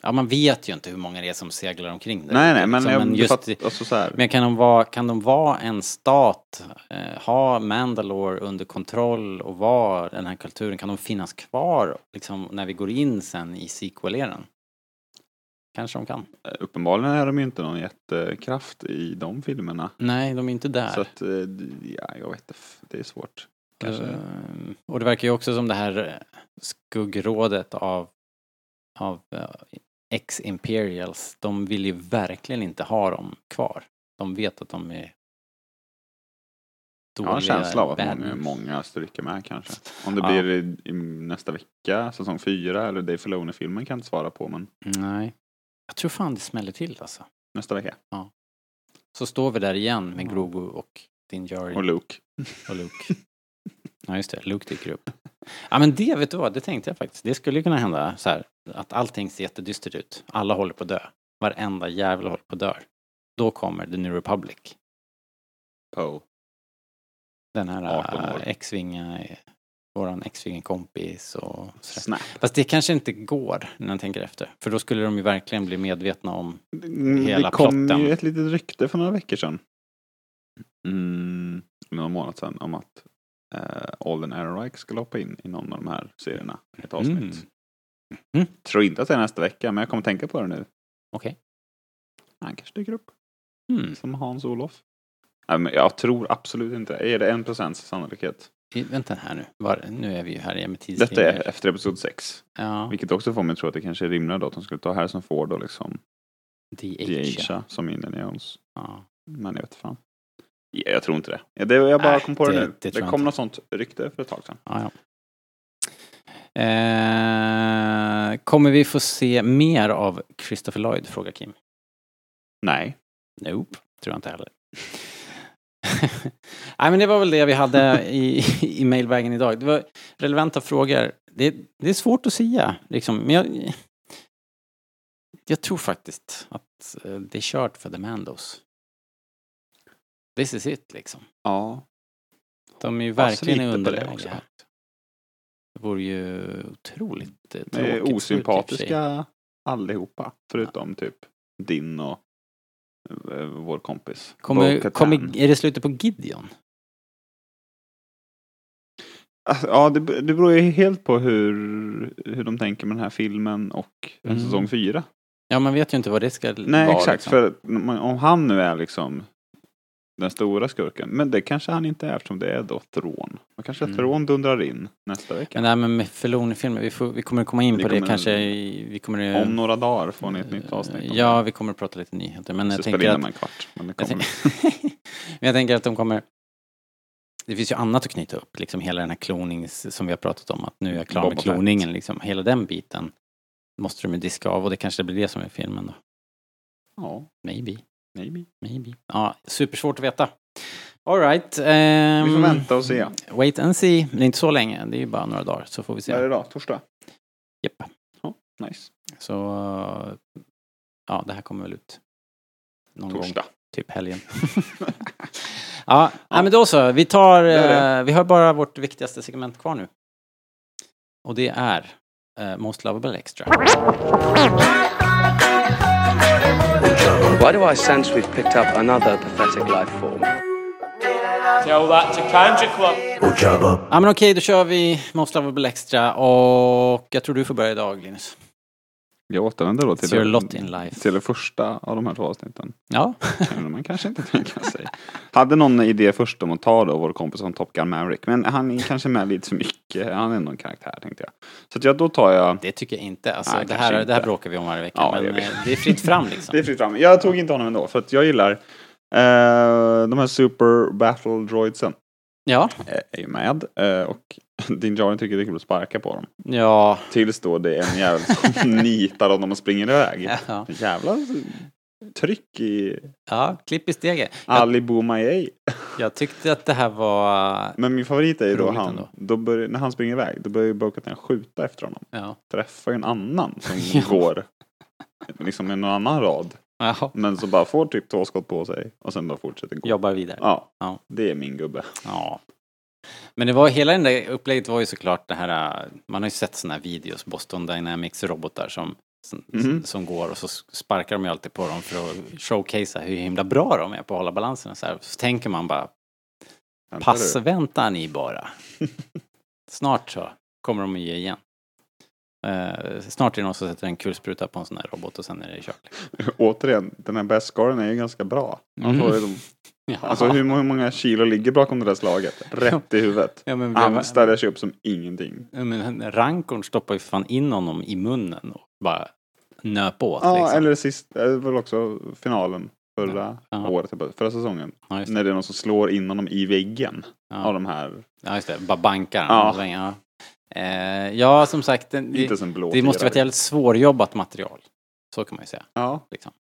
[SPEAKER 2] ja, man vet ju inte hur många det är som seglar omkring där.
[SPEAKER 3] Nej, nej, men,
[SPEAKER 2] liksom,
[SPEAKER 3] jag,
[SPEAKER 2] men, just,
[SPEAKER 3] fatt, alltså så här,
[SPEAKER 2] men kan, de vara, kan de vara en stat, eh, ha Mandalore under kontroll och vara den här kulturen? Kan de finnas kvar liksom, när vi går in sen i sequel-eran? Kanske de kan.
[SPEAKER 3] uppenbarligen är de ju inte någon jättekraft i de filmerna.
[SPEAKER 2] Nej, de är inte där.
[SPEAKER 3] Så att, eh, ja, jag vet inte. Det är svårt. Kanske.
[SPEAKER 2] Ehm, Och det verkar ju också som det här eh, skuggrådet av, av eh, ex-imperials, de vill ju verkligen inte ha dem kvar. De vet att de är
[SPEAKER 3] Jag har en känsla av att
[SPEAKER 2] bad
[SPEAKER 3] många,
[SPEAKER 2] news.
[SPEAKER 3] många stryker med kanske. Om det
[SPEAKER 2] Ja.
[SPEAKER 3] blir i, i nästa vecka, säsong fyra eller Dave Filoni-filmen kan jag inte svara på. Men
[SPEAKER 2] Nej. Jag tror fan det smäller till alltså.
[SPEAKER 3] nästa vecka.
[SPEAKER 2] Så står vi där igen med Grogu och din Jari
[SPEAKER 3] Och Luke.
[SPEAKER 2] och Luke. Ja just det, Luke dyker upp. Ja men det, vet du vad, det tänkte jag faktiskt. Det skulle ju kunna hända så här, att allting ser jättedystert ut. Alla håller på att dö. Varenda jävel håller på att dö. Då kommer The New Republic.
[SPEAKER 3] Poe.
[SPEAKER 2] Den här
[SPEAKER 3] 18 år.
[SPEAKER 2] äh, X-vinga, eh, våran X-vinga kompis och sådär.
[SPEAKER 3] Snap.
[SPEAKER 2] Fast det kanske inte går när man tänker efter. För då skulle de ju verkligen bli medvetna om
[SPEAKER 3] Det
[SPEAKER 2] Hela
[SPEAKER 3] kom
[SPEAKER 2] plotten.
[SPEAKER 3] ju ett litet rykte för några veckor sedan. Mm, någon månad sedan om att eh, Alden Ehrenreich skulle hoppa in i någon av de här serierna. Ett avsnitt.
[SPEAKER 2] Mm. Mm.
[SPEAKER 3] Tror inte att det är nästa vecka, men jag kommer tänka på det nu.
[SPEAKER 2] Okej.
[SPEAKER 3] Han kanske dyker upp
[SPEAKER 2] hmm,
[SPEAKER 3] som Hans-Olof. Nej, men jag tror absolut inte. Är det en procents sannolikhet?
[SPEAKER 2] i- vänta här nu. Var, nu är vi ju här i med
[SPEAKER 3] Detta är efter episod 6.
[SPEAKER 2] Ja,
[SPEAKER 3] Vilket också får mig att tro att det kanske är rimligare då att de skulle ta Harrison Ford och liksom
[SPEAKER 2] D.H.
[SPEAKER 3] Deasia som Indiana Jones.
[SPEAKER 2] Ja.
[SPEAKER 3] Men jag vet fan. Ja, jag tror inte det. Ja, det jag bara
[SPEAKER 2] Nej,
[SPEAKER 3] kom på det,
[SPEAKER 2] det-
[SPEAKER 3] nu.
[SPEAKER 2] det
[SPEAKER 3] Det,
[SPEAKER 2] tror jag
[SPEAKER 3] kom
[SPEAKER 2] inte.
[SPEAKER 3] något sånt rykte för ett tag sedan.
[SPEAKER 2] Ja, ja. Eh, kommer vi få se mer av Christopher Lloyd? Frågar Kim.
[SPEAKER 3] Nej.
[SPEAKER 2] Nope, tror jag inte heller. Nej men det var väl det vi hade i, i mailvägen idag. Det var relevanta frågor. Det, det är svårt att säga liksom. Men jag, jag tror faktiskt att eh, det är kört för The Mandos. This is it liksom.
[SPEAKER 3] Ja.
[SPEAKER 2] De är ju
[SPEAKER 3] Hoppas
[SPEAKER 2] verkligen i
[SPEAKER 3] lite på det
[SPEAKER 2] underläge
[SPEAKER 3] också.
[SPEAKER 2] här. Det vore ju otroligt eh, tråkigt.
[SPEAKER 3] De är
[SPEAKER 2] slut i och för sig.
[SPEAKER 3] osympatiska allihopa. Förutom typ din och eh, vår kompis.
[SPEAKER 2] Kommer,
[SPEAKER 3] Bo-Katan.
[SPEAKER 2] kommer, är det slutet på Gideon?
[SPEAKER 3] Alltså, ja, det, be- det beror ju helt på hur, hur de tänker med den här filmen och en
[SPEAKER 2] Mm.
[SPEAKER 3] säsong fyra.
[SPEAKER 2] Ja, man vet ju inte vad det ska
[SPEAKER 3] Nej,
[SPEAKER 2] vara.
[SPEAKER 3] exakt.
[SPEAKER 2] liksom.
[SPEAKER 3] För att om- om han nu är liksom den stora skurken. Men det kanske han inte är eftersom det är då Thrawn. Man kanske
[SPEAKER 2] Mm.
[SPEAKER 3] Thrawn dundrar in nästa vecka.
[SPEAKER 2] Men det här med- med Felony-filmer, vi, får- vi kommer komma in
[SPEAKER 3] Vi
[SPEAKER 2] på det
[SPEAKER 3] kommer-
[SPEAKER 2] kanske. i- Vi kommer,
[SPEAKER 3] Om några dagar får ni ett nytt avsnitt. om
[SPEAKER 2] Ja,
[SPEAKER 3] det.
[SPEAKER 2] vi kommer att prata lite nyheter. Men
[SPEAKER 3] Så
[SPEAKER 2] jag
[SPEAKER 3] spelar
[SPEAKER 2] tänker,
[SPEAKER 3] in
[SPEAKER 2] att,
[SPEAKER 3] om en kvart. Men det
[SPEAKER 2] jag,
[SPEAKER 3] kommer.
[SPEAKER 2] tänk- men jag tänker att de kommer... Det finns ju annat att knyta upp, liksom hela den här klonings som vi har pratat om, att nu är jag klar
[SPEAKER 3] Boba
[SPEAKER 2] med
[SPEAKER 3] Fett.
[SPEAKER 2] kloningen, liksom. Hela den biten måste de ju diska av och det kanske blir det som är filmen då.
[SPEAKER 3] Ja,
[SPEAKER 2] Maybe,
[SPEAKER 3] maybe.
[SPEAKER 2] maybe. Ja, supersvårt att veta. Alright. Um,
[SPEAKER 3] Vi får vänta och se.
[SPEAKER 2] Wait and see, men det är inte så länge, det är ju bara några dagar så får vi se.
[SPEAKER 3] Vad är det idag? Torsdag?
[SPEAKER 2] Japp.
[SPEAKER 3] Nice.
[SPEAKER 2] Så ja, det här kommer väl ut någon gång,
[SPEAKER 3] Torsdag.
[SPEAKER 2] typ helgen. ja, Nej, men då så. Vi tar,
[SPEAKER 3] Det är
[SPEAKER 2] eh, vi har bara vårt viktigaste segment kvar nu. Och det är eh, Most Lovable Extra.
[SPEAKER 9] Why do I sense we've picked up another pathetic life form?
[SPEAKER 2] Ja, men okej, då kör vi Most Lovable Extra och jag tror du får börja idag, Linus.
[SPEAKER 3] Jag återvänder då till
[SPEAKER 2] It's your lot in life.
[SPEAKER 3] till det första av de här två avsnitten.
[SPEAKER 2] Ja,
[SPEAKER 3] Kunde man kanske inte tänka sig. Hade någon idé först om att ta då vår kompis från Top Gun Maverick. Men han är kanske med lite för mycket. Han är någon karaktär tänkte jag. Så att jag, då tar jag...
[SPEAKER 2] det tycker jag inte. Alltså,
[SPEAKER 3] Nej,
[SPEAKER 2] det,
[SPEAKER 3] kanske
[SPEAKER 2] här, det här
[SPEAKER 3] inte.
[SPEAKER 2] bråkar vi om varje vecka,
[SPEAKER 3] Ja, det
[SPEAKER 2] men
[SPEAKER 3] gör vi.
[SPEAKER 2] eh, det är fritt fram
[SPEAKER 3] Det är
[SPEAKER 2] liksom.
[SPEAKER 3] fritt fram. Jag tog inte honom ändå. För att jag gillar eh, de här Super Battle Droidsen.
[SPEAKER 2] Ja,
[SPEAKER 3] eh, är ju med. eh, Och din Jarin tycker det är kul att sparka på dem.
[SPEAKER 2] ja.
[SPEAKER 3] Tills då det är en jävel som nitar dem när de springer iväg.
[SPEAKER 2] ja.
[SPEAKER 3] Jävla tryck i
[SPEAKER 2] ja klipp i steget. Jag,
[SPEAKER 3] Ali Boumaye.
[SPEAKER 2] jag tyckte att det här var...
[SPEAKER 3] Men min favorit är ju då
[SPEAKER 2] Roligt
[SPEAKER 3] han,
[SPEAKER 2] ändå.
[SPEAKER 3] då börjar, när han springer iväg, då börjar ju Bo-Katan skjuta efter honom.
[SPEAKER 2] Ja.
[SPEAKER 3] Träffar ju en annan som
[SPEAKER 2] Ja.
[SPEAKER 3] går liksom en annan rad.
[SPEAKER 2] Jaha.
[SPEAKER 3] Men så bara får typ två skott på sig och sen bara fortsätter gå.
[SPEAKER 2] Jobbar vidare.
[SPEAKER 3] Ja,
[SPEAKER 2] Ja.
[SPEAKER 3] det är min gubbe.
[SPEAKER 2] Ja. Men det var, hela det där upplägget var ju såklart det här, äh, man har ju sett sådana här videos, Boston Dynamics robotar som, som,
[SPEAKER 3] Mhm.
[SPEAKER 2] som går och så sparkar de ju alltid på dem för att showcasea hur himla bra de är på att hålla balansen och så här. Så tänker man bara,
[SPEAKER 3] Väntar
[SPEAKER 2] pass
[SPEAKER 3] du?
[SPEAKER 2] vänta ni bara. Snart så kommer de att ge igen. Eh, snart är det någon som sätter en kulspruta på en sån här robot och sen är det kört.
[SPEAKER 3] Återigen, den här bästgaren är ju ganska bra. Han
[SPEAKER 2] Mm.
[SPEAKER 3] får ju de
[SPEAKER 2] Ja.
[SPEAKER 3] Alltså hur många, hur många kilo ligger bakom det där slaget? Rätt i huvudet.
[SPEAKER 2] Ja, men vi-
[SPEAKER 3] Han ställer sig upp som ingenting.
[SPEAKER 2] Ja, Men han- rankorn stoppar ju för fan in honom i munnen och bara nöp åt.
[SPEAKER 3] Ja,
[SPEAKER 2] liksom.
[SPEAKER 3] eller sist, det är väl också finalen förra
[SPEAKER 2] Ja.
[SPEAKER 3] året, typ, förra säsongen.
[SPEAKER 2] ja, just det.
[SPEAKER 3] När det är någon som slår in honom i väggen av
[SPEAKER 2] Ja.
[SPEAKER 3] de här.
[SPEAKER 2] ja, just det. Bara bankar
[SPEAKER 3] Ja.
[SPEAKER 2] ja. ja. Eh, ja, som sagt, den,
[SPEAKER 3] Inte
[SPEAKER 2] det,
[SPEAKER 3] ens en blå
[SPEAKER 2] det måste vara
[SPEAKER 3] fyra.
[SPEAKER 2] ett jävligt svårjobbat material. Så kan man ju säga.
[SPEAKER 3] Ja,
[SPEAKER 2] Liksom.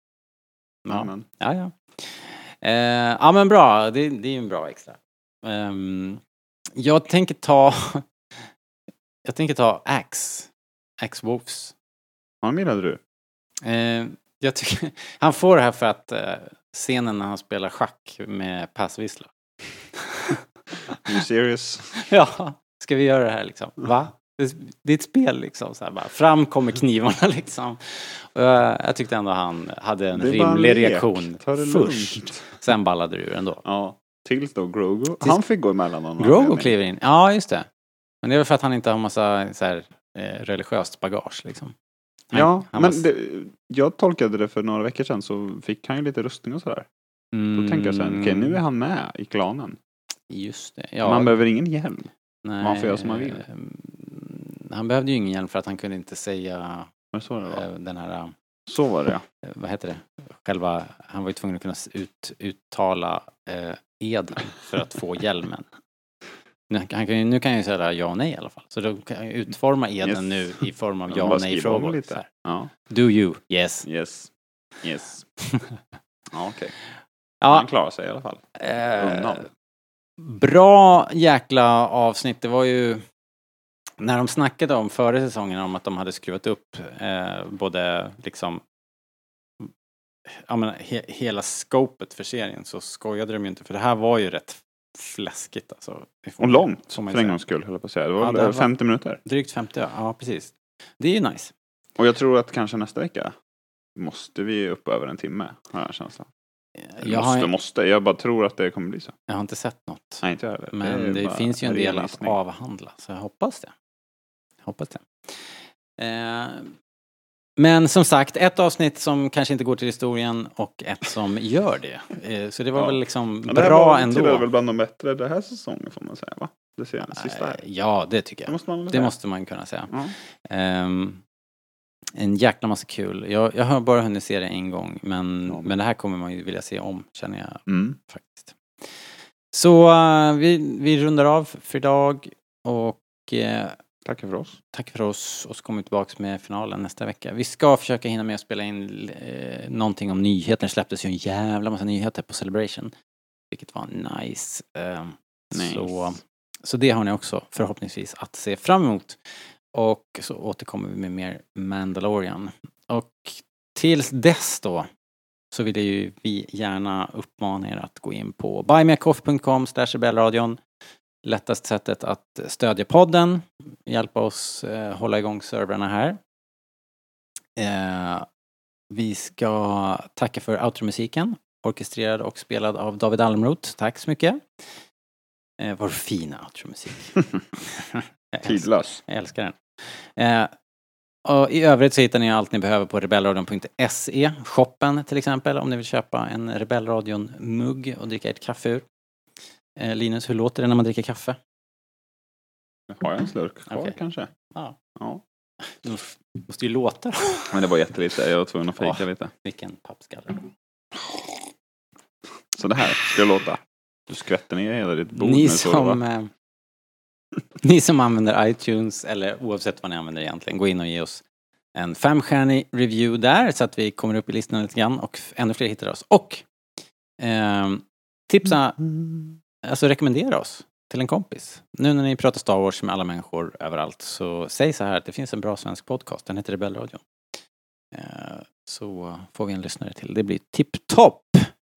[SPEAKER 3] ja.
[SPEAKER 2] Ja.
[SPEAKER 3] Men,
[SPEAKER 2] Ja, ja. Eh, ja men bra, det, det är ju en bra extra. Ehm, jag tänker ta... jag tänker ta Axe. Axe Wolves.
[SPEAKER 3] han gillade du.
[SPEAKER 2] Eh, jag tycker, han får det här för att eh, scenen när han spelar schack med passvissla.
[SPEAKER 3] Are you serious?
[SPEAKER 2] ja, ska vi göra det här liksom? Va? Det, det är ett spel liksom. Så här, bara, fram kommer knivarna liksom. Och jag, jag tyckte ändå han hade en
[SPEAKER 3] Det är bara en
[SPEAKER 2] rimlig
[SPEAKER 3] lek.
[SPEAKER 2] reaktion
[SPEAKER 3] Ta det
[SPEAKER 2] först.
[SPEAKER 3] lugnt.
[SPEAKER 2] Sen ballade det ur ändå.
[SPEAKER 3] Ja, tills då Grogo. Han fick gå emellan honom.
[SPEAKER 2] Grogo kliver in. Ja, just det. Men det är väl för att han inte har massa så här, eh, religiöst bagage liksom. Han-
[SPEAKER 3] Ja,
[SPEAKER 2] han
[SPEAKER 3] men
[SPEAKER 2] var-
[SPEAKER 3] det, jag tolkade det för några veckor sedan så fick han ju lite rustning och sådär. Då
[SPEAKER 2] Mm,
[SPEAKER 3] tänker jag så här, okej nu är han med i klanen.
[SPEAKER 2] Just det. Ja,
[SPEAKER 3] Man behöver ingen hjälm.
[SPEAKER 2] nej,
[SPEAKER 3] man får göra som man vill.
[SPEAKER 2] mm, Han behövde ju ingen hjälm för att han kunde inte säga
[SPEAKER 3] Men så, var det, va?
[SPEAKER 2] eh, den här, eh,
[SPEAKER 3] så var det ja.
[SPEAKER 2] vad heter det, själva, han var ju tvungen att kunna s- ut, uttala eh, eden för att få hjälmen. Nu, han kan, ju- nu kan jag ju säga ja och nej i alla fall. Så då kan jag ju utforma eden
[SPEAKER 3] Yes.
[SPEAKER 2] nu i form av
[SPEAKER 3] Jag
[SPEAKER 2] ja
[SPEAKER 3] bara
[SPEAKER 2] och
[SPEAKER 3] skriver om
[SPEAKER 2] nej-frågor.
[SPEAKER 3] lite.
[SPEAKER 2] Så här,
[SPEAKER 3] ja.
[SPEAKER 2] Do you? Yes.
[SPEAKER 3] Yes. Yes. ja, okej.
[SPEAKER 2] Ja,
[SPEAKER 3] Han klarar sig i alla fall.
[SPEAKER 2] Eh,
[SPEAKER 3] Undan.
[SPEAKER 2] Bra jäkla avsnitt. Det var ju när de snackade om före säsongen om att de hade skruvat upp eh, både liksom ja, men, he, hela scopet för serien så skojade de ju inte för det här var ju rätt fläskigt alltså. Det får
[SPEAKER 3] Och
[SPEAKER 2] man-
[SPEAKER 3] långt,
[SPEAKER 2] får man ju
[SPEAKER 3] för en
[SPEAKER 2] säga.
[SPEAKER 3] gångs skull höll jag på att säga. Det
[SPEAKER 2] Ja,
[SPEAKER 3] var
[SPEAKER 2] det
[SPEAKER 3] väl
[SPEAKER 2] var-
[SPEAKER 3] 50 minuter.
[SPEAKER 2] Drygt 50, ja. ja precis. Det är ju nice.
[SPEAKER 3] Och jag tror att kanske nästa vecka måste vi upp över en timme, har jag en känsla. Eller
[SPEAKER 2] Jag
[SPEAKER 3] måste,
[SPEAKER 2] har,
[SPEAKER 3] måste. Jag bara tror att det kommer bli så.
[SPEAKER 2] jag har inte sett något.
[SPEAKER 3] Nej, inte jag heller. är
[SPEAKER 2] Men det,
[SPEAKER 3] bara
[SPEAKER 2] finns ju en del att
[SPEAKER 3] rengissning.
[SPEAKER 2] avhandla, så jag hoppas det. Jag hoppas det. Eh, men som sagt, ett avsnitt som kanske inte går till historien och ett som gör det. Eh, så det var
[SPEAKER 3] Ja.
[SPEAKER 2] väl liksom
[SPEAKER 3] Ja, det här
[SPEAKER 2] bra
[SPEAKER 3] var,
[SPEAKER 2] ändå.
[SPEAKER 3] tillhör väl bland de bättre den här säsongen får man säga va? Det sen- sista här.
[SPEAKER 2] Eh, ja, det tycker
[SPEAKER 3] Det
[SPEAKER 2] jag.
[SPEAKER 3] måste man väl
[SPEAKER 2] Det
[SPEAKER 3] säga.
[SPEAKER 2] måste man kunna säga.
[SPEAKER 3] Ja.
[SPEAKER 2] Ehm, en jäkla massa kul. Jag, jag har bara hunnit se det en gång, men,
[SPEAKER 3] Ja.
[SPEAKER 2] men det här kommer man ju vilja se om, känner jag
[SPEAKER 3] Mm.
[SPEAKER 2] faktiskt. Så eh, vi, vi rundar av för idag och eh,
[SPEAKER 3] Tackar för oss.
[SPEAKER 2] tack för oss och så kommer vi tillbaks med finalen nästa vecka. Vi ska försöka hinna med att spela in eh, någonting om nyheter. Det släpptes ju en jävla massa nyheter på Celebration, vilket var nice. Eh,
[SPEAKER 3] Nice.
[SPEAKER 2] Så, så det har ni också förhoppningsvis att se fram emot. Och så återkommer vi med mer Mandalorian. Och tills dess då så vill ju vi gärna uppmana er att gå in på buymeacoffee.com slash rebellradion. Lättast sättet att stödja podden, hjälpa oss eh, hålla igång servrarna här. Eh, vi ska tacka för outromusiken, orkestrerad och spelad av David Almroth. Tack så mycket. Eh, vår fina outromusik. Jag älskar-
[SPEAKER 3] Tidlös.
[SPEAKER 2] jag älskar den. Eh, och I övrigt så hittar ni allt ni behöver på rebellradion.se, shoppen till exempel, om ni vill köpa en Rebellradion-mugg och dricka ert kaffe ur. Eh, Linus, hur låter det när man dricker kaffe?
[SPEAKER 3] Har jag en slurk kvar
[SPEAKER 2] Okej.
[SPEAKER 3] kanske?
[SPEAKER 2] Ja.
[SPEAKER 3] ja.
[SPEAKER 2] Det måste ju låta.
[SPEAKER 3] Men det var jättelite. Jag var tvungen att fejka
[SPEAKER 2] Ja.
[SPEAKER 3] lite.
[SPEAKER 2] Vilken pappskalle.
[SPEAKER 3] Så det här ska låta. Du skvätter ner hela ditt bord
[SPEAKER 2] Ni
[SPEAKER 3] nu så det
[SPEAKER 2] som,
[SPEAKER 3] va?
[SPEAKER 2] eh, ni som använder iTunes, eller oavsett vad ni använder egentligen, gå in och ge oss en femstjärnig review där så att vi kommer upp i listan lite grann och f- ännu fler hittar oss. Och ehm, tipsa, alltså rekommendera oss till en kompis. Nu när ni pratar Star Wars med alla människor överallt så säg så här att det finns en bra svensk podcast, den heter Rebellradion. Eh, så får vi en lyssnare till. Det blir tipptopp!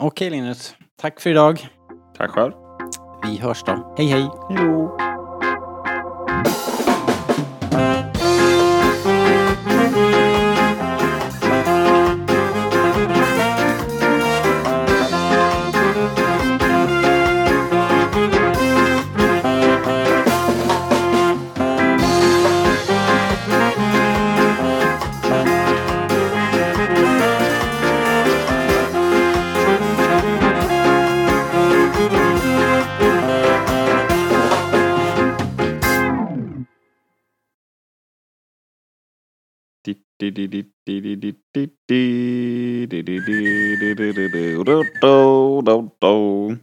[SPEAKER 2] Okej Linus, tack för idag.
[SPEAKER 3] Tack själv.
[SPEAKER 2] Vi hörs då. Hej hej!
[SPEAKER 3] Hejdå.
[SPEAKER 10] Thank
[SPEAKER 3] Di-di-di-di-di-di-di-di-di-di-di-di-di-di-di-di-di-di-di-di-di-di-di-di.